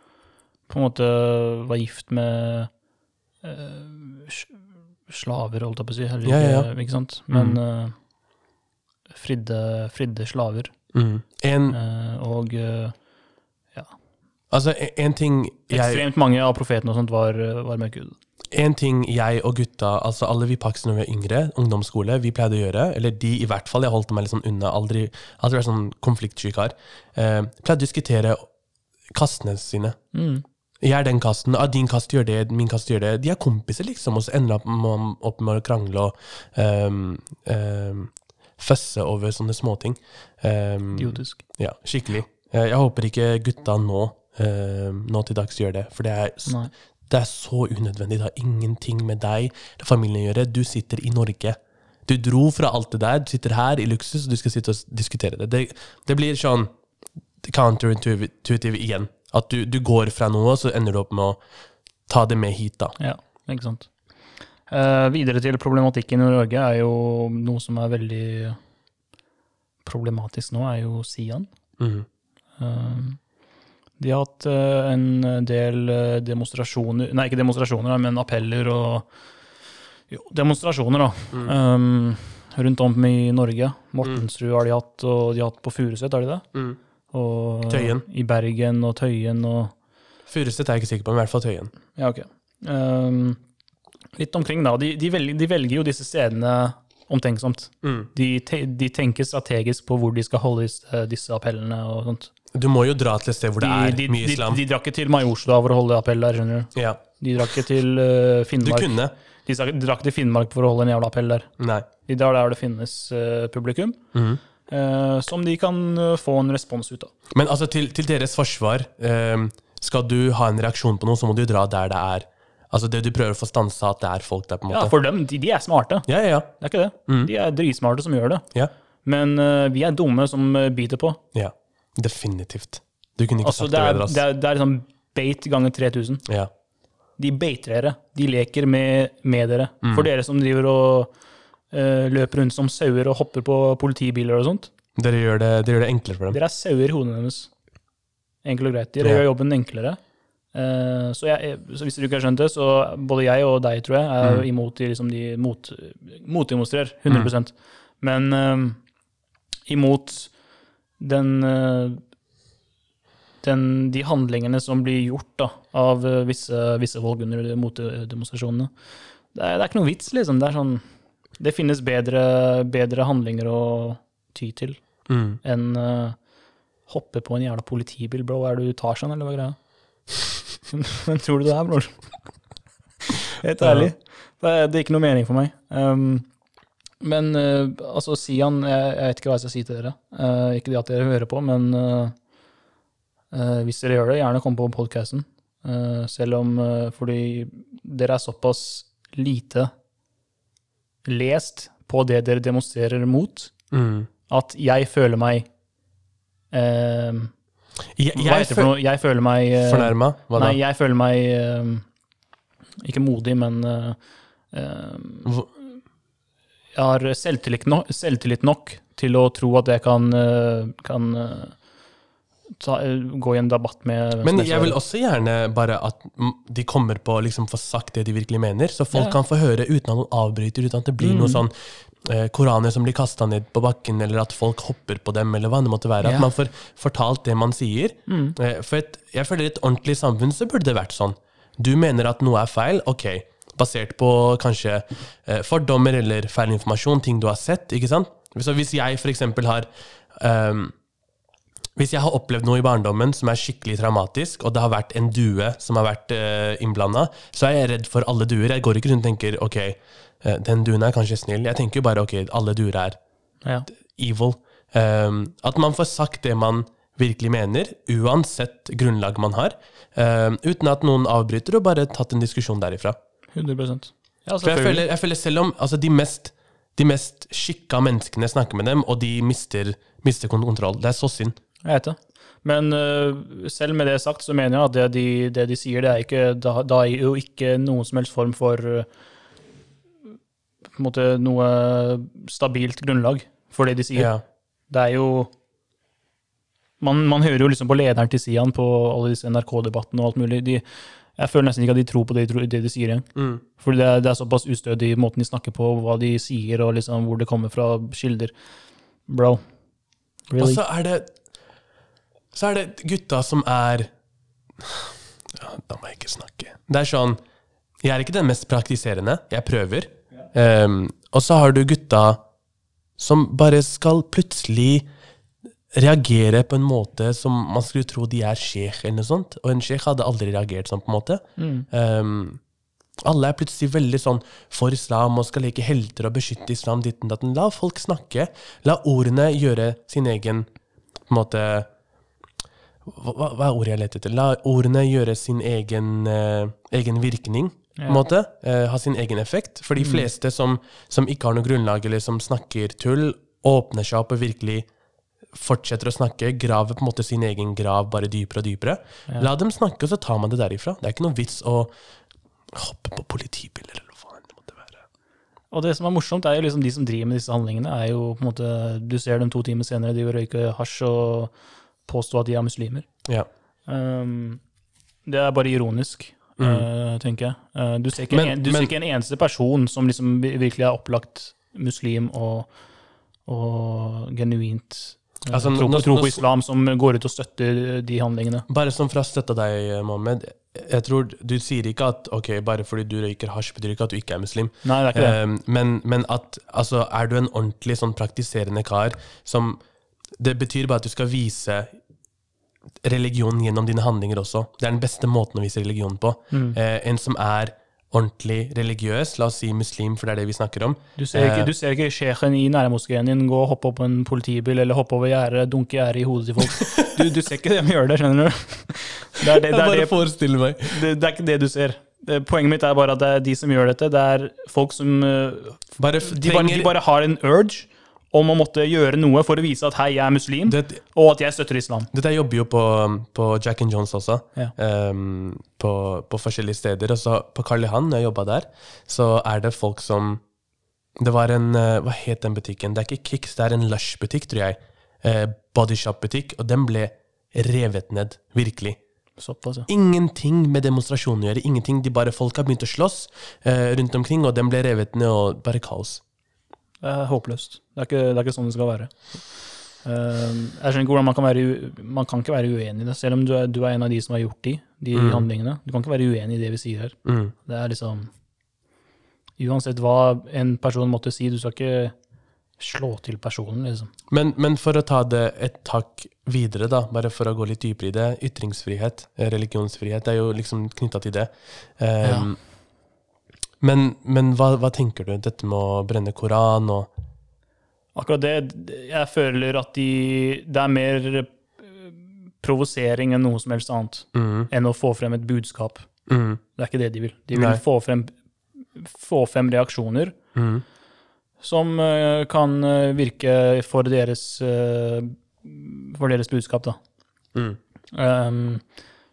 på en måte var gift med eh, s- slaver, holdt jeg på å si. Eller,
Ja, ja, Mm. ja.
ikke- Ikke sant? Men eh, fridde, fridde slaver.
Mm. En,
eh, og eh,
altså, en- en, ting jeg,
ekstremt mange av profetene og sånt var, eh, var mørkhudede.
en ting jeg og gutta, altså alle vi pakser når vi er yngre, ungdomsskole, vi pleide å gjøre, eller de i hvert fall, jeg holdt meg litt sånn unna, aldri, aldri vært sånn konfliktsky kar, eh, pleide å diskutere kastene sine.
Mm.
Jeg er den kasten, ah, din kast gjør det, min kast gjør det. De er kompiser, liksom, og så ender opp med, opp med å krangle og ehm, ehm, føsse over sånne småting. Um,
Idiotisk.
Ja, skikkelig. Eh, Jeg håper ikke gutta nå, eh, nå til dags gjør det, for det er, s-
Nei.
det er så unødvendig. Det har ingenting med deg eller familien å gjøre. Du sitter i Norge. Du dro fra alt det der, du sitter her i luksus, og du skal sitte og s- diskutere det. Det, det blir sånn counterintuitive igjen. At du, du går fra noe, og så ender du opp med å ta det med hit, da.
Ja, ikke sant. Eh, videre til problematikken i Norge er jo noe som er veldig problematisk nå, er jo Sian.
Mhm.
Eh, de har hatt eh, en del eh, demonstrasjoner, nei ikke demonstrasjoner, da, men appeller og jo, demonstrasjoner da,
Mm.
eh, rundt om i Norge. Mortensrud har de hatt, og de har hatt på Furuset, har de det?
Mm.
Og, eh,
Tøyen.
I Bergen og Tøyen og
Furuset er jeg ikke sikker på, men i hvert fall Tøyen.
ja, ok. Ehm, litt omkring, da. De, de, velger, de velger jo disse stedene omtenksomt.
Mm.
De, te, de tenker strategisk på hvor de skal holde disse, disse appellene og sånt.
Du må jo dra til et sted hvor
De,
det er
de,
mye
de,
islam.
de drar ikke til Majorstua for å holde appell der, skjønner du.
ja.
De drar ikke til eh,
Du
Finnmark.
kunne.
De sa- de drar ikke til Finnmark for å holde en jævla appell der.
Nei.
De drar der det finnes eh, publikum,
Mhm.
eh, som de kan eh, få en respons ut av.
Men altså, til, til deres forsvar, ehm, skal du ha en reaksjon på noe, så må du dra der det er. Altså det du prøver å få stansa at det er folk der, på en
Ja,
måte.
for dem, de, de er smarte.
Ja, ja,
Det er ikke det.
Mhm.
De er dritsmarte som gjør det.
ja. ja.
Men eh, vi er dumme som eh, biter på.
ja. Definitivt. Du kunne ikke
Altså,
sagt
det
det
er,
bedre, ass.
det er, det er liksom bait ganger 3000.
Ja.
De beiter dere. De leker med, med dere.
Mhm.
For dere som driver og eh, løper rundt som sauer og hopper på politibiler og sånt.
Dere, gjør det, dere gjør det enklere for dem.
Dere er sauer i hodene deres. Enkelt og greit. Dere
Ja.
gjør jobben enklere. Eh, så, jeg, så hvis dere ikke har skjønt det, så både jeg og deg, tror jeg, er imot de, liksom, de mot, motdemonstrerer. 100 Men eh, imot den eh, den, de handlingene som blir gjort da, av eh, visse, visse folk under de motdemonstrasjonene. Det er, det er ikke noe vits, liksom. Det, er sånn, det finnes bedre, bedre handlinger å ty til
Mm.
enn eh, hoppe på en jævla politibil, bro. Er du Tarzan, eller hva er greia? Hvem tror du du er, bror? Helt
Ja.
ærlig. Det er, det er ikke noe mening for meg. Um, men eh, altså, Sian jeg, jeg vet ikke hva jeg skal si til dere. Eh, ikke det at dere hører på, men eh, eh, hvis dere gjør det, gjerne kom på podkasten. selv om eh, Fordi dere er såpass lite lest på det dere demonstrerer mot
Mm.
at jeg føler meg eh,
Jeg,
Hva
jeg
heter det for
føler
noe? Jeg føler meg eh,
Fornærma? Hva da?
Nei, jeg føler meg eh, Ikke modig, men eh, eh,
Hva-
jeg har selvtillit nok, selvtillit nok til å tro at jeg kan, eh, kan eh, ta, eh, gå i en debatt med hvem som
Men
helst.
jeg vil også gjerne bare at mm, de kommer på å liksom få sagt det de virkelig mener, så folk
Ja. Mm.
kan få høre uten at noen avbryter, uten at det blir noe sånn eh, koraner som blir kasta ned på bakken, eller at folk hopper på dem, eller hva det måtte være.
Ja. Mm.
At man får fortalt det man sier. Eh, for et, jeg føler i et ordentlig samfunn så burde det vært sånn. Du mener at noe er feil, ok. Basert på kanskje eh, fordommer eller feil informasjon, ting du har sett, ikke sant? Så hvis jeg for eksempel har ehm, hvis jeg har opplevd noe i barndommen som er skikkelig traumatisk, og det har vært en due som har vært uh, innblanda, så er jeg redd for alle duer. Jeg går ikke rundt og tenker ok, eh, den duen er kanskje snill. Jeg tenker jo bare ok, alle duer er
ja.
evil. Um, at man får sagt det man virkelig mener, uansett grunnlag man har, um, uten at noen avbryter, og bare tatt en diskusjon derifra.
100 Ja,
For jeg
selvfølgelig.
føler, jeg føler selv om altså, de mest de mest skikka menneskene snakker med dem, og de mister, mister kon- kontroll. Det er så synd.
Jeg vet det. Men eh, selv med det sagt, så mener jeg at det de, det de sier, det er, ikke, det har- det har jo ikke noen som helst form for eh, på en måte noe stabilt grunnlag for det de sier.
Ja.
Det er jo man, man hører jo liksom på lederen til Sian på alle disse NRK-debattene og alt mulig. De, jeg føler nesten ikke at de tror på det de, tror- det de sier igjen.
Mm.
Fordi det er, det er såpass ustødig måten de snakker på, hva de sier og liksom hvor det kommer fra, kilder. Bro. Really?
Og så er det Så er det gutta som er ja, Da må jeg ikke snakke. Det er sånn Jeg er ikke den mest praktiserende. Jeg prøver. Um, og så har du gutta som bare skal plutselig reagere på en måte som man skulle tro de er sjekh eller noe sånt. Og en sjekh hadde aldri reagert sånn, på en måte. Um, alle er plutselig veldig sånn for islam og skal leke helter og beskytte islam. Ditten, datten. La folk snakke. La ordene gjøre sin egen på en måte hva, hva- hva er ordet jeg leter etter? La ordene gjøre sin egen, eh, egen virkning. på en måte, eh, ha sin egen effekt. For de fleste som, som ikke har noe grunnlag, eller som snakker tull, åpner seg opp og virkelig fortsetter å snakke, graver på en måte sin egen grav bare dypere og dypere. La dem snakke, og så tar man det derifra. Det er ikke noe vits å hoppe på politibiler eller hva faen det måtte være.
Og det som er morsomt, er jo liksom de som driver med disse handlingene, er jo på en måte Du ser dem to timer senere de vil røyke hasj og påstå at de er muslimer.
Ja.
Um, det er bare ironisk, eh, tenker jeg. Eh, du ser, ikke,
Mm. Men-
en, du
men-
ser ikke en eneste person som liksom vi- virkelig er opplagt muslim og, og genuint eh,
Altså,
tro,
nå-
på, tro
nå-
på islam, som går ut og støtter de handlingene.
Bare sånn som fra støtta deg, Mohammed. Jeg tror Du sier ikke at ok, bare fordi du røyker hasj, betyr ikke at du ikke er muslim.
Nei, det er ikke det.
Um, men, men at altså, er du en ordentlig sånn praktiserende kar som Det betyr bare at du skal vise religionen gjennom dine handlinger også. Det er den beste måten å vise religion på. Eh, en som er ordentlig religiøs, la oss si muslim, for det er det vi snakker om.
Du ser
Eh.
ikke, du ser ikke sjefen i nærmoskeen din gå og hoppe opp på en politibil eller hoppe over gjerdet, dunke gjerdet i hodet til folk. Du, du ser ikke dem gjøre det, skjønner du. Det er, det, det, er det,
forestiller meg.
det, det er ikke det du ser. Det, poenget mitt er bare at det er de som gjør dette, det er folk som øh,
Bare f-
de bare, de
trenger-
bare har en urge om å måtte gjøre noe for å vise at hei, jeg er muslim,
det,
og at jeg støtter islam.
Dette jobber jo på, um, på Jack and Jones også,
Ja.
ehm, på, på forskjellige steder. Og så på Karl Johan, når jeg jobba der, så er det folk som Det var en eh, Hva het den butikken? Det er ikke Kicks, det er en Lush-butikk, tror jeg. Eh, Bodyshop-butikk. Og den ble revet ned. Virkelig.
Såpass, ja.
Ingenting med demonstrasjonen å gjøre. ingenting, de bare Folk har begynt å slåss eh, rundt omkring, og den ble revet ned, og bare kaos.
Det er håpløst. Det er ikke, det er ikke sånn det skal være. Ehm, jeg skjønner ikke hvordan man kan være u- Man kan ikke være uenig i det, selv om du er, du er en av de som har gjort de, de handlingene. Du kan ikke være uenig i det vi sier her.
Mm.
Det er liksom Uansett hva en person måtte si, du skal ikke slå til personen, liksom.
Men, men for å ta det et takk videre, da, bare for å gå litt dypere i det. Ytringsfrihet, eh, religionsfrihet, det er jo liksom knytta til det. Ehm, Men, men hva, hva tenker du? Dette med å brenne Koran og
Akkurat det Jeg føler at de Det er mer eh, provosering enn noe som helst annet.
mm,
Enn å få frem et budskap.
mm,
Det er ikke det de vil. De vil
Nei.
få frem, få frem reaksjoner
mm,
som eh, kan eh, virke for deres, eh, for deres budskap, da.
mm.
Ehm,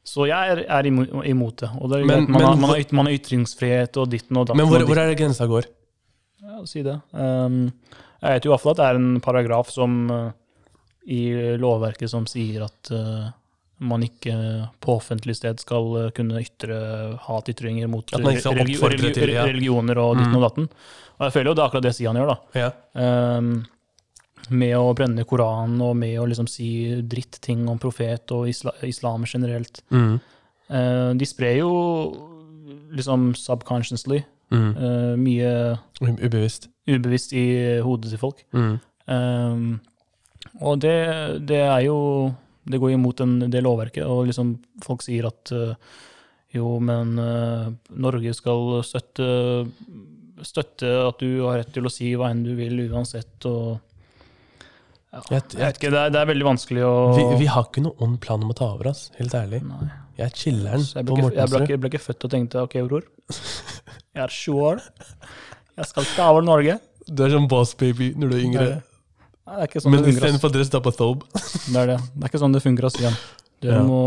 så jeg er, er imo- imot det. Og det er
Men-
greit, man, har,
men
man,
hvor-
har, yt- man har ytringsfrihet og ditten og datten.
Men hvor,
og
hvor er det grensa går?
ditten. Ja, si det. Ehm, jeg vet jo i hvert fall at det er en paragraf som eh, i lovverket som sier at eh, man ikke på offentlig sted skal eh, kunne ytre hatytringer mot
At man ikke skal
religi-
oppfordre
religi-
til, ja.
religioner og ditten
Mm.
og datten. Og jeg føler jo det er akkurat det Sian gjør, da.
Ja.
Ehm, med å brenne Koranen og med å liksom si drittting om profet og isla islam generelt.
Mm,
Eh, de sprer jo liksom subconsciously
mm.
eh, mye
U- Ubevisst.
ubevisst i hodet til folk.
Mm.
Ehm, og det, det er jo Det går imot den, det lovverket, og liksom folk sier at eh, jo, men eh, Norge skal støtte, støtte at du har rett til å si hva enn du vil uansett, og
Jeg,
jeg
jeg,
vet ikke, det er, det er veldig vanskelig å
vi, vi har ikke noen ond plan om å ta over, ass. Helt ærlig.
Nei.
Jeg er chiller'n
Så jeg
på
ble, ikke, jeg, ble
Mortensrud.
ikke, jeg ble ikke født og tenkte OK, bror. Jeg er sju år. Jeg skal ikke over Norge.
Du er sånn boss baby når du er
Det
yngre.
er det. Nei, det er ikke sånn
Men
det fungerer. ass.
istedenfor at dere står på thobe.
Det er det. Det er ikke sånn det fungerer, ass, Stian. Dere
Ja.
må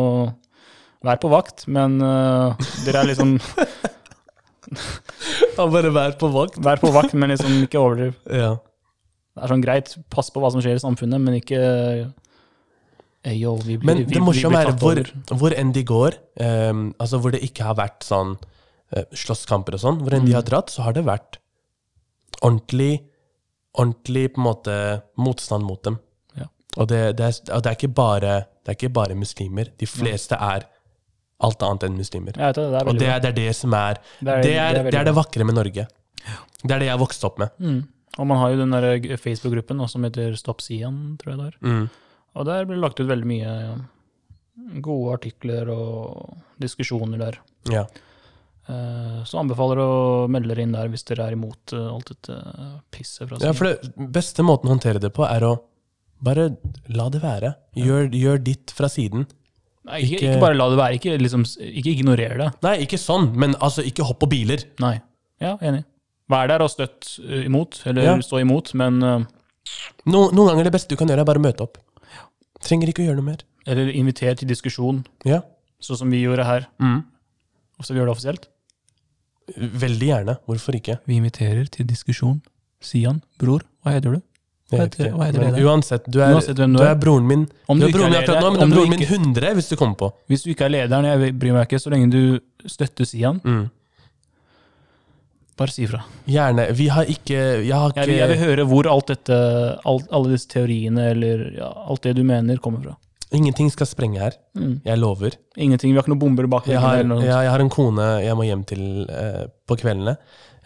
være på vakt, men øh, dere er liksom
Han bare vær på vakt.
Vær på vakt, men liksom ikke overdriv.
Ja.
Det er sånn greit, pass på hva som skjer i samfunnet, men ikke eh, yo, vi blir,
Men
vi,
det
vi blir
morsomme er
tatt
hvor,
over.
hvor enn de går, ehm, altså hvor det ikke har vært sånn eh, slåsskamper og sånn, hvor
Mm.
enn de har dratt, så har det vært ordentlig, ordentlig på en måte motstand mot dem.
Ja.
Og det, det, er, og det, er ikke bare, det er ikke bare muslimer. De fleste er alt annet enn muslimer.
Jeg vet det, det er
Og
veldig
det
bra.
er det, er det som er
Det
det
er-
er det,
det er veldig bra.
vakre med Norge. Det er det jeg vokste opp med.
Mm. Og man har jo den der Facebook-gruppen nå som heter Stopp Sian, tror jeg det er.
Mm.
Og der blir det lagt ut veldig mye eh, gode artikler og diskusjoner der.
Ja.
Eh, Så anbefaler å melde dere inn der hvis dere er imot eh, alt dette pisset fra
Ja, for det beste måten å håndtere det på er å bare la det være. Gjør, gjør ditt fra siden.
Nei, ikke,
Ikke-
ikke bare la det være. Ikke, liksom, s- ikke ignorer det.
Nei, ikke sånn, men altså, ikke hopp på biler.
Nei. Ja, enig. Vær der og støtt eh, imot, eller
Ja.
stå imot, men eh,
No, noen ganger det beste du kan gjøre, er bare å møte opp. Trenger ikke å gjøre noe mer.
Eller inviter til diskusjon,
Ja.
sånn som vi gjorde her.
Mm.
Og så vi gjør det offisielt.
Veldig gjerne. Hvorfor ikke?
Vi inviterer til diskusjon. Sian, bror, hva heter du?
Jeg
Hva
vet
heter-
ikke.
hva heter
Men
det der?
uansett, du er,
Uansett hvem
du
du er.
er broren min
Om du
Du er
ikke
broren min
er
akkurat nå,
leder,
men
om du
broren min
ikke-
100, hvis du kommer på.
Hvis du ikke er lederen, jeg bryr meg ikke, så lenge du støtter Sian,
Mm.
bare si ifra.
Gjerne. Vi har ikke Jeg har
Jeg, vil- jeg vil
ikke
høre hvor alt dette, alt, alle disse teoriene eller ja, alt det du mener, kommer fra.
Ingenting skal sprenge her.
Mm.
Jeg lover.
Ingenting, Vi har ikke noen bomber bak
Jeg
ryggen
har,
eller noe
jeg, jeg har en kone jeg må hjem til eh, på kveldene.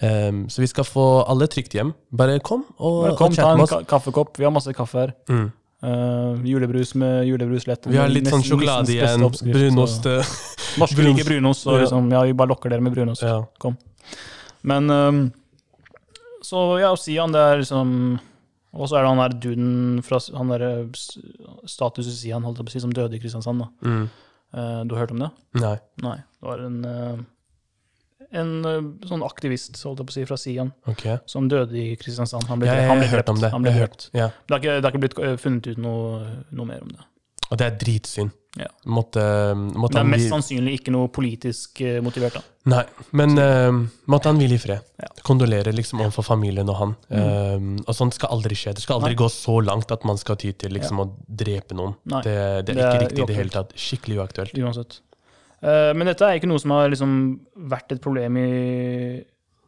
Ehm, så vi skal få alle trygt hjem. Bare kom og,
Bare kom,
og
ta
chat
en
med oss.
ka kaffekopp. Vi har masse kaffe her.
Mm.
Eh, julebrus med julebrusletter.
Vi har litt sånn sjokolade igjen. Brunost. eh,
Norske
Brun-
liker brunost, så
Ja.
liksom, ja, vi bare lokker dere med brunost.
Ja.
Men ehm, Så ja, Sian, det er liksom Og så er det han der duden fra s- han derre s- status i Sian, holdt jeg på å si, som døde i Kristiansand, da.
Mm.
Eh, du har hørt om det?
Nei.
Nei. Det var en eh, en eh, sånn aktivist holdt jeg på å si, fra Sian
Ok.
som døde i Kristiansand. Han ble,
Ja, jeg
han ble
har hørt
drept.
om det.
Han ble
Jeg har
drept.
Ja.
Det har ikke, det har ikke blitt eh, funnet ut noe, noe mer om det.
Og det er dritsynd.
Ja.
Måtte, eh,
Men det
måtte
er
han
mest sånn-
hvile
sannsynlig ikke noe politisk eh, motivert. da.
Nei, men eh, måtte han hvile i fred.
Ja. Mm.
Kondolere liksom overfor familien og han. Eh, og sånt skal aldri skje. Det skal aldri
Nei.
gå så langt at man skal ty til liksom å drepe noen.
Nei.
Det, det er
Det
ikke
er
riktig i det hele
uaktuelt.
tatt. Skikkelig uaktuelt.
uansett. Eh, men dette er ikke noe som har liksom vært et problem i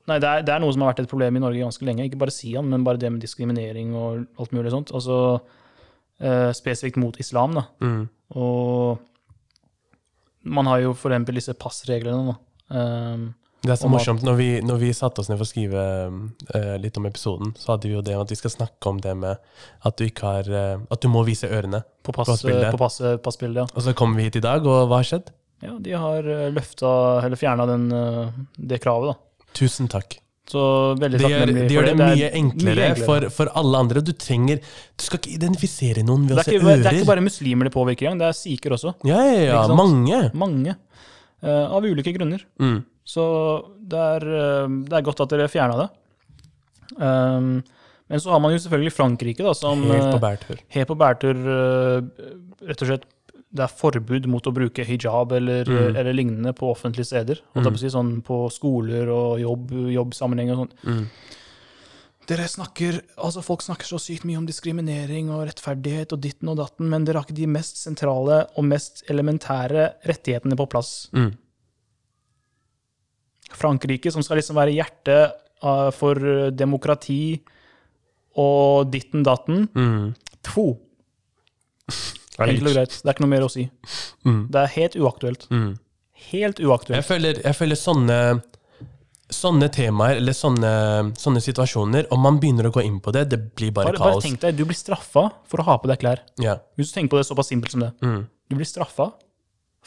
Nei, det er, det er noe som har vært et problem i Norge ganske lenge. Ikke bare Sian, men bare det med diskriminering og alt mulig sånt. Altså eh, spesifikt mot islam, da.
Mm.
Og man har jo for eksempel disse passreglene, da. Eh,
Det er så
Om at-
morsomt. Når vi, når vi satte oss ned for å skrive eh, litt om episoden, så hadde vi jo det om at vi skal snakke om det med at du ikke har eh, At du må vise ørene.
på pass, eh,
Passbildet.
På pass, passbildet, ja.
Og så kommer vi hit i dag, og hva har skjedd?
ja. De har eh, løfta, eller fjerna den, eh, det kravet, da.
Tusen takk.
Så veldig
Det gjør det,
takknemlig
gjør det, mye,
er
enklere For, for alle andre. Du trenger Du skal ikke identifisere noen
det
ved å
er,
se
ikke,
ører.
det er ikke bare muslimer det påvirker engang, det er sikher også.
Ja, ja, ja.
Ikke sant?
Mange.
Mange. eh, av ulike grunner.
Mm.
Så det er, eh, det er godt at dere fjerna det. Um, men så har man jo selvfølgelig Frankrike, da, som
Helt på
eh,
bærtur.
helt på bærtur eh, Rett og slett det er forbud mot å bruke hijab eller, eh,
Mm.
eller lignende på offentlige steder. Og
Mm.
på, å si, sånn på skoler og jobb, jobbsammenheng og sånn.
Mm.
Dere snakker, altså Folk snakker så sykt mye om diskriminering og rettferdighet og ditten og datten, men dere har ikke de mest sentrale og mest elementære rettighetene på plass.
Mm.
Frankrike, som skal liksom være hjertet eh, for eh, demokrati og ditten datten.
Mm.
Tvo. Enkelt og greit. Det er ikke noe mer å si.
Mm.
Det er helt uaktuelt.
Mm.
Helt
Jeg
uaktuelt.
føler, jeg føler sånne Sånne temaer eller sånne, sånne situasjoner, om man begynner å gå inn på det, det blir bare,
Bare, bare
kaos.
tenk deg, du blir straffa for å ha på deg klær.
Ja.
Hvis du tenker på det såpass simpelt som det.
Mm. Mm.
Du blir straffa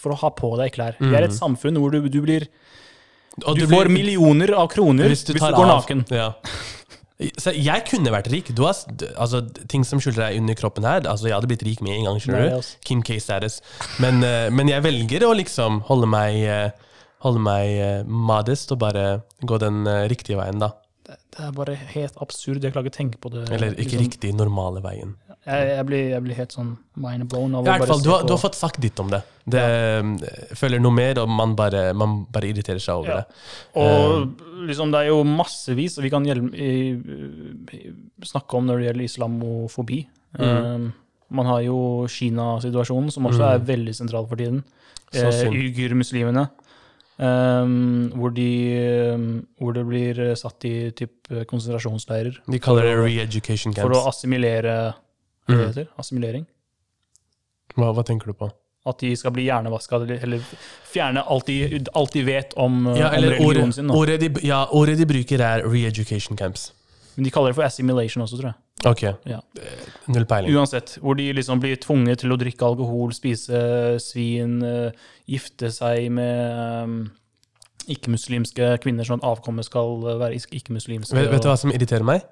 for å ha på deg klær. Vi er et samfunn hvor du, du blir
Og
Du får millioner av kroner hvis du,
tar
går
av-
naken.
Ja. Så jeg kunne vært rik. Du har, s- d- altså, ting som skjuler deg under kroppen her altså, Jeg hadde blitt rik med en gang, skjønner
Nei,
du.
altså.
Kim K-status. Men, eh, men jeg velger å liksom holde meg, eh, holde meg eh, modest og bare gå den eh, riktige veien, da.
Det er bare helt absurd. Jeg klarer ikke å tenke på det.
Eller ikke
liksom.
riktig, normale veien.
Jeg, jeg, blir, jeg blir helt sånn mind blown av
I hvert fall,
se
du har,
på-
du har fått sagt ditt om det. det eh, Føler noe mer, og man bare, man bare irriterer seg over
Ja.
det. Eh.
Og liksom, det er jo massevis, og vi kan hjelm- i- i- snakke om når det gjelder islamofobi.
Mm.
Um, man har jo Kina-situasjonen, som også er veldig sentral for tiden.
Mm. Så
Eh,
synd.
Uigur-muslimene. Um, hvor, de, um, hvor det blir satt i typ, konsentrasjonsleirer
De kaller det re-education
for å
camps.
assimilere hva
Mm.
det heter, assimilering.
Hva, hva tenker du på?
At de skal bli hjernevaska, eller eller fjerne alt de, alt de vet om, eh,
Ja,
om
eller
religionen
ordet,
sin. Da.
ordet, de, ja, ordet de bruker, er re-education camps.
Men de kaller det for assimilation også, tror jeg.
Ok,
Ja.
Eh, null peiling.
Uansett, hvor de liksom blir tvunget til å drikke alkohol, spise svin, eh, gifte seg med eh, ikke-muslimske kvinner, sånn at avkommet skal eh, være is- ikke-muslimske.
Vet, vet du hva som irriterer meg?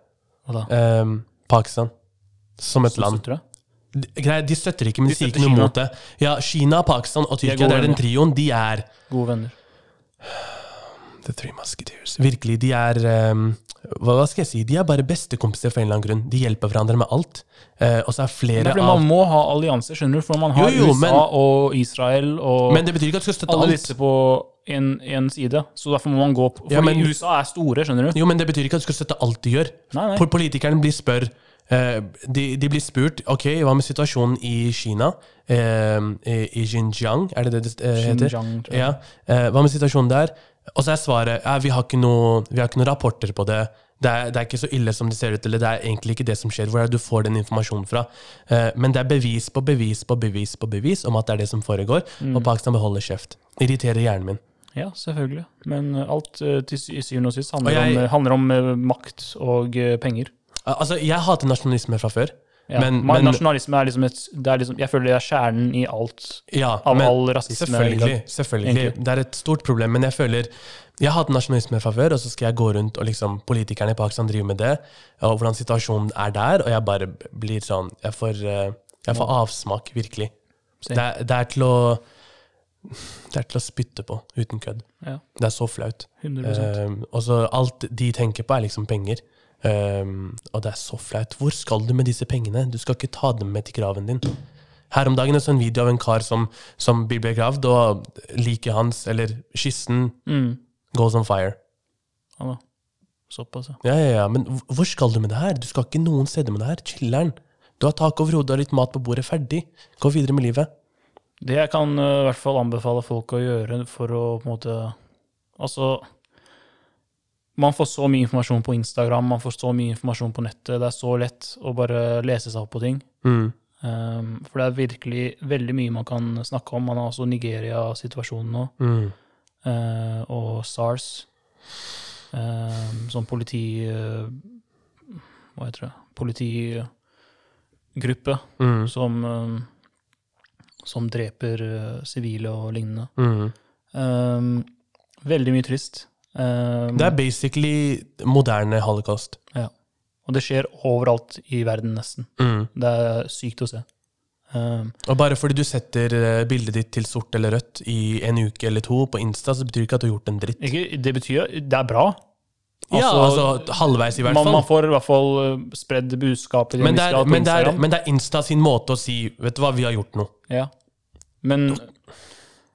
og- og da?
Ehm, Pakistan. Som et land.
Sutre?
de, greit, de støtter ikke, men de,
De
sier
støtter
ikke noe
Kina.
mot det. Ja, Kina, Pakistan og
er
Tyrkia,
gode
det er den
venner.
trioen. De er
Gode venner.
The Three Musketeers. Virkelig, de er ehm, hva, hva skal jeg si? De er bare bestekompiser for en eller annen grunn. De hjelper hverandre med alt. Eh, og så er
Men
flere
det er fordi
av
man må ha allianser, skjønner du, for man har
Jo, jo,
USA
men-
og Israel og
Men det betyr ikke at du skal støtte
alle
alt.
disse på en, en side. Så derfor må man gå på For
Ja, men-
USA er store, skjønner du.
Jo, men det betyr ikke at du skal støtte alt de gjør.
Nei, nei.
Pol- Politikerne blir spør, eh, de, de blir spurt ok, hva med situasjonen i Kina, eh, i i Xinjiang, er det det det eh, heter?
Xinjiang, tror jeg.
Ja. Eh, hva med situasjonen der? Og så er svaret ja, vi, har ikke noe, vi har ikke noen rapporter på det. Det er, det er ikke så ille som det ser ut, eller det er egentlig ikke det som skjer. Hvor er det du får den informasjonen fra? Eh, men det er bevis på bevis på bevis på bevis om at det er det som foregår, og Pakistan beholder kjeft. Irriterer hjernen min.
Ja, selvfølgelig. Men eh, alt eh, til sy- syvende og sist handler,
Og jeg-
om, eh, handler om eh, makt og eh, penger.
Al- Altså, jeg hater nasjonalisme fra før.
Ja.
Men,
Ma-
men,
Nasjonalisme er liksom et det er liksom, Jeg føler det er kjernen i alt.
ja,
Av
men,
all rasisme. i
Selvfølgelig.
dag.
selvfølgelig.
Egentlig.
Det er et stort problem, men jeg føler Jeg har hatt nasjonalisme fra før, og så skal jeg gå rundt og liksom Politikerne i Pakistan driver med det, og hvordan situasjonen er der, og jeg bare blir sånn Jeg får, eh, jeg får avsmak, virkelig.
Se.
Det er, det er til å Det er til å spytte på, uten kødd.
Ja,
Det er så flaut.
100
Um, og så alt de tenker på, er liksom penger. Um, og det er så flaut. Hvor skal du med disse pengene? Du skal ikke ta dem med til graven din. Her om dagen er det en video av en kar som, som blir begravd, og liket hans, eller kisten,
mm.
goes on fire.
ja, da. Såpass, ja.
Ja, ja, ja, men hvor- hvor skal du med det her? Du skal ikke noen steder med det her. Chiller'n. Du har tak over hodet og litt mat på bordet. Ferdig. Gå videre med livet.
Det jeg kan eh, i hvert fall anbefale folk å gjøre for å på en måte Altså Man får så mye informasjon på Instagram, man får så mye informasjon på nettet. Det er så lett å bare lese seg opp på ting.
Mm,
Um, for det er virkelig veldig mye man kan snakke om. Man har også Nigeria-situasjonen nå,
Mm.
eh, og SARS. Um, sånn politi... eh, hva heter det? Politigruppe
Mm.
som, um, som dreper eh, sivile og lignende.
Mm.
Um, veldig mye trist. Um,
Det er basically moderne holocaust.
og det skjer overalt i verden, nesten.
Mm.
Det er sykt å se. Um,
Og bare fordi du setter eh, bildet ditt til sort eller rødt i en uke eller to på Insta, så betyr det ikke at du har gjort en dritt.
ikke, det betyr Det er bra.
ja,
altså-
altså halvveis i hvert
Man,
fall.
man får i hvert fall eh, spredd budskapet.
men, det
på
er, men, det er,
Instagram.
men det er Insta sin måte å si 'vet du hva, vi har gjort noe'.
ja. men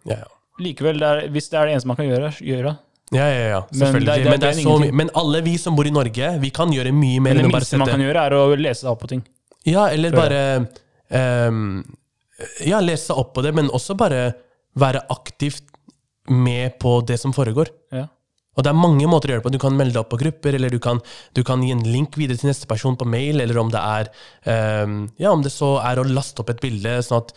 Ja, ja.
likevel, det er, hvis det er det eneste man kan gjøre, gjøre.
Ja, ja, ja,
Men det er-
selvfølgelig. Men,
det er-
det er
det er
så
ingenting.
mye. men alle vi som bor i Norge, vi kan gjøre mye mer
Men det
enn å bare
minste man
sette
kan gjøre, er å lese seg opp på ting.
Ja, eller
Før
bare ehm, Ja, lese seg opp på det, men også bare være aktivt med på det som foregår.
Ja.
Og det er mange måter å gjøre det på. Du kan melde deg opp på grupper, eller du kan, du kan gi en link videre til neste person på mail, eller om det er ehm, Ja, om det så er å laste opp et bilde, sånn at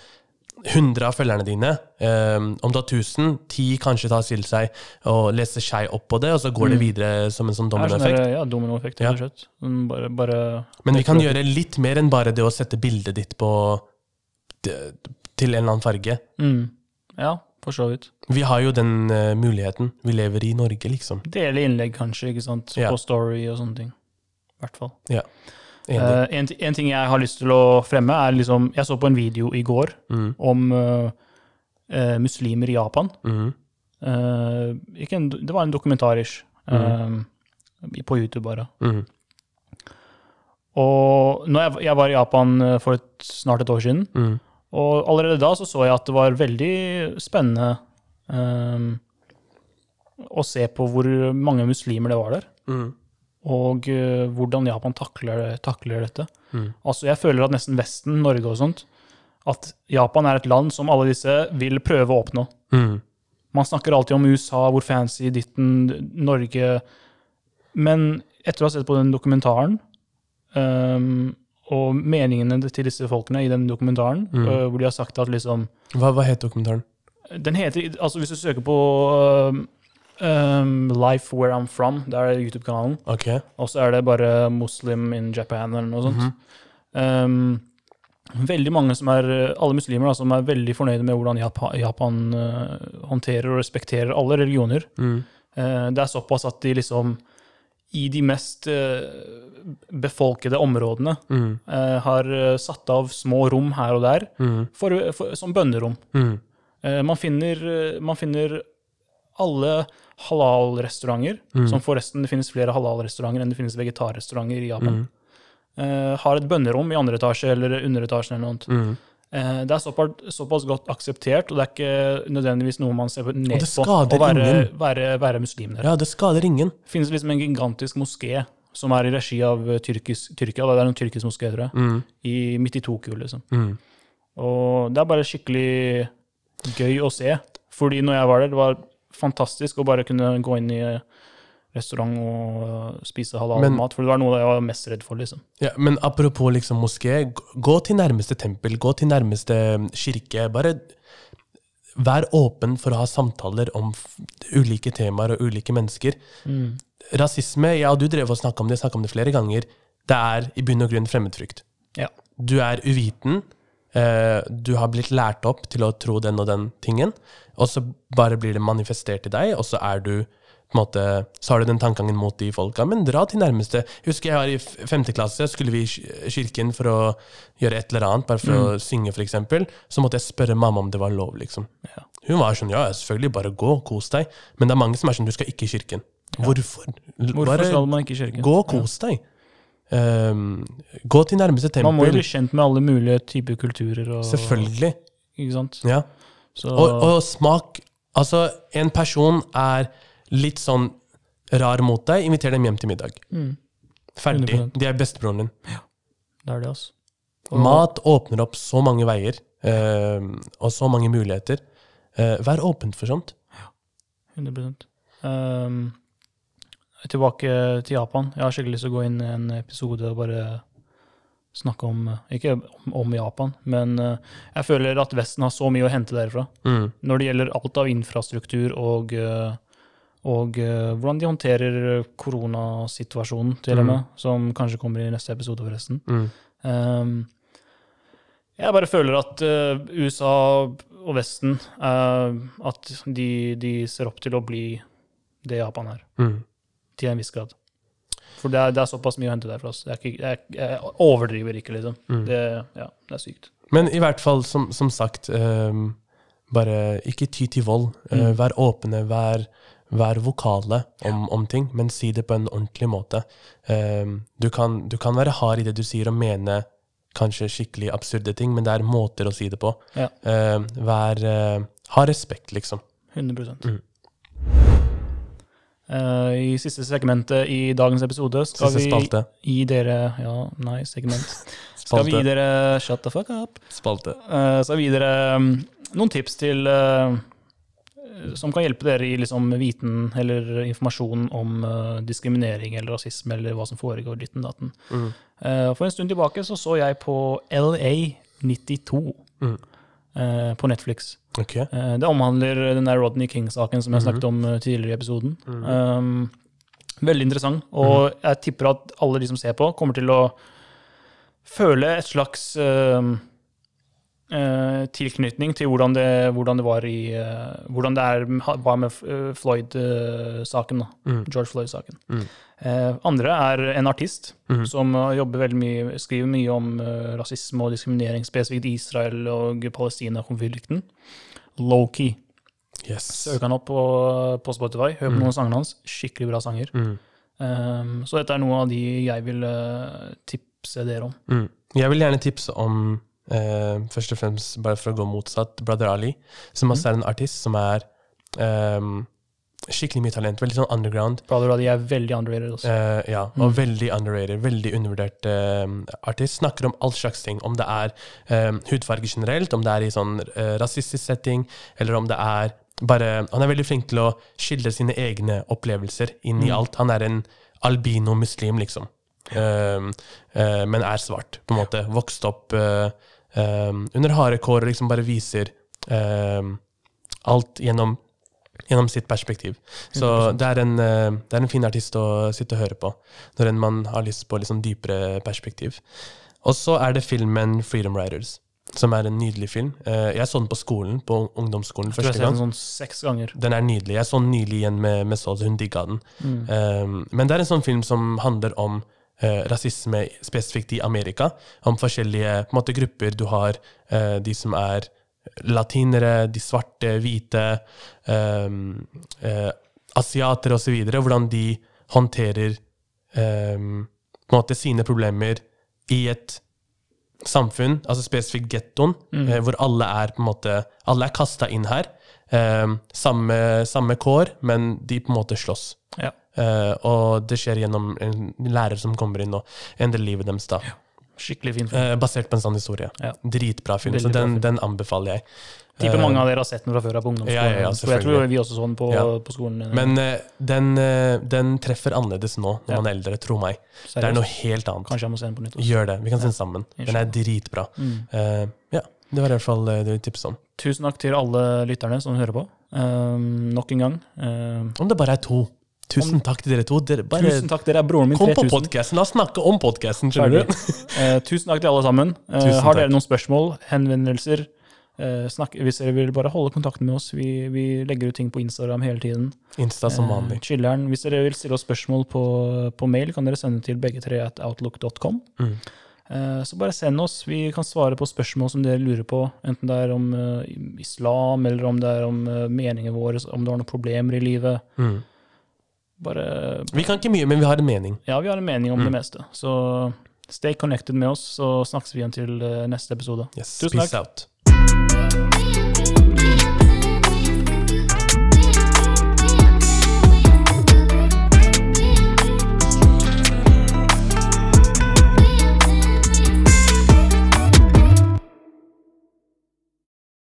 100 av følgerne dine, ehm, om du har 1000, 10 kanskje tar til seg og leser seg opp på det, og så går det videre som en
Mm.
sånn
Det er sånn
dominoeffekt.
der, ja, dominoeffekt.
Ja.
rett og slett. Mm, Bare, bare
Men vi kan gjøre litt mer enn bare det å sette bildet ditt på til en eller annen farge.
mm. Ja, for så vidt.
Vi har jo den eh, muligheten. Vi lever i Norge, liksom.
Dele innlegg, kanskje, ikke sant?
Ja.
på story og sånne ting. I hvert fall.
Ja. Enig.
Eh, en, ti- en ting jeg har lyst til å fremme, er liksom Jeg så på en video i går
Mm.
om eh, eh, muslimer i Japan.
Mm.
Eh, ikke en, det var en dokumentarisk eh, på YouTube, bare.
Mm.
Og når jeg, jeg var i Japan eh, for et, snart et år siden,
Mm.
og allerede da så, så jeg at det var veldig spennende eh, å se på hvor mange muslimer det var der,
Mm.
og eh, hvordan Japan takler, takler dette.
Mm.
Altså, jeg føler at nesten Vesten, Norge og sånt, at Japan er et land som alle disse vil prøve å oppnå.
Mm.
Man snakker alltid om USA, hvor fancy ditten, Norge Men etter å ha sett på den dokumentaren, ehm, og meningene til disse folkene i den dokumentaren,
Mm.
øh, hvor de har sagt at liksom
Hva, hva het dokumentaren?
Den heter Altså, hvis du søker på øhm, øhm, Life Where I'm From, det er YouTube-kanalen,
Ok.
og så er det bare Muslim in Japan eller noe sånt. Ehm, veldig mange som er, Alle muslimer da, som er veldig fornøyde med hvordan Japan, Japan eh, øh, håndterer og respekterer alle religioner.
Mm.
Eh, Det er såpass at de liksom i de mest eh, befolkede områdene
Mm.
eh, har eh, satt av små rom her og der
Mm.
for, for, som bønnerom.
Mm.
Eh, man, finner, eh, man finner alle halal-restauranter,
Mm.
som forresten det finnes flere halal-restauranter enn det finnes vegetarrestauranter i Japan,
Mm.
eh, har et bønnerom i andre etasje eller underetasjen eller noe annet.
Mm.
Eh, det er såpass, såpass godt akseptert, og det er ikke nødvendigvis noe man ser på- ned
det
på
skader
å være,
ingen.
være, være muslim der.
Ja, det skader ingen.
Det finnes liksom en gigantisk moské som er i regi av eh, tyrkis, Tyrkia, det er en tyrkisk moské, tror jeg,
Mm.
i, midt i Tokyo, liksom.
Mm.
Og det er bare skikkelig gøy å se. Fordi når jeg var der, det var fantastisk å bare kunne gå inn i restaurant og øh, spise
Men-
halal-mat. For det var noe jeg var mest redd for, liksom.
Ja, men apropos liksom moské, g- gå til nærmeste tempel, gå til nærmeste mm, kirke. Bare vær åpen for å ha samtaler om f- ulike temaer og ulike mennesker. Mm. Rasisme, ja, du drev og snakka om det, snakka om det flere ganger. Det er i bunn og grunn fremmedfrykt.
Ja.
Du er uviten. eh, Du har blitt lært opp til å tro den og den tingen, og så bare blir det manifestert i deg, og så er du på en måte, så har du den tankegangen mot de folka, men dra til nærmeste. Jeg husker jeg var i f- femte klasse, skulle vi i ki- kirken for å gjøre et eller annet, bare for
Mm.
å synge for eksempel, så måtte jeg spørre mamma om det var lov, liksom.
Ja.
Hun var sånn, ja, selvfølgelig, bare gå, kos deg. Men det er mange som er sånn, du skal ikke i kirken. Hvorfor? L-
Hvorfor
bare
skal man ikke i kirken?
gå og kos deg. Ehm, gå til nærmeste tempel.
Man må jo bli kjent med alle mulige typer kulturer. Og,
Selvfølgelig.
Ikke sant?
Ja.
Så,
Og, og smak Altså, en person er litt sånn rar mot deg, inviter dem hjem til middag.
Mm.
Ferdig.
100%.
De er bestebroren din.
det er det, altså. Og-
Mat åpner opp så mange veier, eh, og så mange muligheter. Eh, vær åpen for sånt.
100 Ehm, Tilbake til Japan. Jeg har skikkelig lyst til å gå inn i en episode og bare snakke om Ikke om, om Japan, men eh, jeg føler at Vesten har så mye å hente derfra.
Mm.
Når det gjelder alt av infrastruktur og, eh, og eh, hvordan de håndterer koronasituasjonen, til og
Mm.
med, som kanskje kommer i neste episode, forresten.
Mm.
Ehm, jeg bare føler at eh, USA og Vesten eh, At de, de ser opp til å bli det Japan er,
Mm.
til en viss grad. For det er, det er såpass mye å hente der for oss. Jeg, er ikke- jeg, jeg overdriver ikke, liksom.
Mm.
Det, ja, det er sykt.
Men i hvert fall, som, som sagt, ehm, bare ikke ty til vold. Eh,
Mm.
vær åpne, vær, vær vokale om, om ting, men si det på en ordentlig måte. Ehm, du, kan, du kan være hard i det du sier og mene kanskje skikkelig absurde ting, men det er måter å si det på.
Ja.
Ehm, vær, eh, ha respekt, liksom.
100
Mm.
Eh, I siste segmentet i dagens episode skal
Siste spalte.
vi gi dere Ja, nei, segment. Skal vi
Spalte.
gi dere Shut the fuck up.
Spalte.
Eh, så videre um, noen tips til eh, som kan hjelpe dere i liksom, viten eller informasjon om eh, diskriminering eller rasisme eller hva som foregår ditten datten.
Mm.
Eh, for en stund tilbake så, så jeg på LA92
Mm.
eh, på Netflix.
Ok.
Eh, det omhandler den der Rodney King-saken som jeg snakket om eh, tidligere i episoden. Um, veldig interessant, og jeg tipper at alle de som ser på, kommer til å føle et slags um, eh, tilknytning til hvordan det, hvordan det var i eh, Hvordan det er, var med eh, Floyd-saken, da.
Mm.
George Floyd-saken.
Mm.
Eh, andre er en artist
Mhm.
som eh, jobber veldig mye, skriver mye om eh, rasisme og diskriminering, spesifikt Israel og Palestina-konflikten. Lowkey.
Yes.
Søk han opp på, på Spotify. Hør på noen av sangene hans. Skikkelig bra sanger.
Mm.
Um, så dette er noe av de jeg vil eh, tipse dere om.
Mm. Jeg vil gjerne tipse om, eh, først og fremst bare for å gå motsatt, Brother Ali, som også er en artist som er ehm, skikkelig mye talent, veldig sånn underground.
Brother Daddy er veldig underrated. Også.
eh, ja, og veldig underrated, veldig undervurdert ehm, artist. Snakker om all slags ting, om det er ehm, hudfarge generelt, om det er i sånn eh, rasistisk setting, eller om det er bare Han er veldig flink til å skildre sine egne opplevelser inn i alt. Han er en albino-muslim, liksom. Ehm, eh, men er svart, på en måte. Vokst opp eh, ehm, under harde kår og liksom bare viser ehm, alt gjennom, gjennom sitt perspektiv. Så det er, en, eh, det er en fin artist å sitte og høre på når liksom en man har lyst på litt sånn dypere perspektiv. Og så er det filmen Freedom Riders. som er en nydelig film. Eh, jeg så den på skolen, på ungdomsskolen
Jeg tror jeg
første
har sett
gang.
den sånn seks ganger.
Den er nydelig. Jeg så den nylig igjen med, med Sol, hun digga den. Um, men det er en sånn film som handler om eh, rasisme spesifikt i Amerika. Om forskjellige på en måte, grupper. Du har eh, de som er latinere, de svarte, hvite, um, eh, asiatere osv. Hvordan de håndterer um, på en måte sine problemer i et samfunn, altså spesifikt gettoen,
Mm.
eh, hvor alle er på en måte Alle er kasta inn her. Eh, samme, samme kår, men de på en måte slåss.
Ja.
Eh, og det skjer gjennom en lærer som kommer inn og endrer livet deres, da.
Skikkelig fin film.
Eh, basert på en sann historie.
Ja.
Dritbra film,
Veldig
så
bra
den,
film.
den anbefaler jeg.
Tipper
Eh,
mange av dere har sett den fra før av på ungdomsskolen.
ja, ja, ja,
for jeg tror
selvfølgelig.
vi også så den på,
Ja.
på skolen.
Men eh, den, eh, den treffer annerledes nå, når
Ja.
man er eldre, tro meg.
Seriøst.
Det er noe helt annet.
Kanskje jeg må se den på nytt. også. Mm.
Gjør det. Vi kan se den sammen. Den er dritbra. Eh, ja. Det var i hvert fall eh, det vi tipset om.
Tusen takk til alle lytterne som hører på. Um, nok en gang. Um,
Om det bare er to. Tusen takk til dere to. Dere bare
tusen takk, dere er broren min.
kom på
3000.
podkasten. La oss snakke om podkasten, skjønner
Ferdig.
du.
Eh, tusen takk til alle sammen. Eh,
Tusen
har dere
takk.
noen spørsmål, henvendelser, eh, snakk, hvis dere vil bare holde kontakten med oss Vi, vi legger ut ting på Instagram hele tiden.
Insta som
Eh,
vanlig.
chilleren. Hvis dere vil stille oss spørsmål på, på mail, kan dere sende til begge tre at outlook.com.
Mm.
Eh, Så bare send oss. Vi kan svare på spørsmål som dere lurer på. Enten det er om eh, islam, eller om det er om eh, meningene våre, om du har noen problemer i livet.
Mm.
Bare
Vi kan ikke mye, men vi har en mening.
Ja, vi har en mening om det meste. Så stay connected med oss, så snakkes vi igjen til eh, neste episode.
Yes.
Tusen
Peace
takk.
out.
Thank you.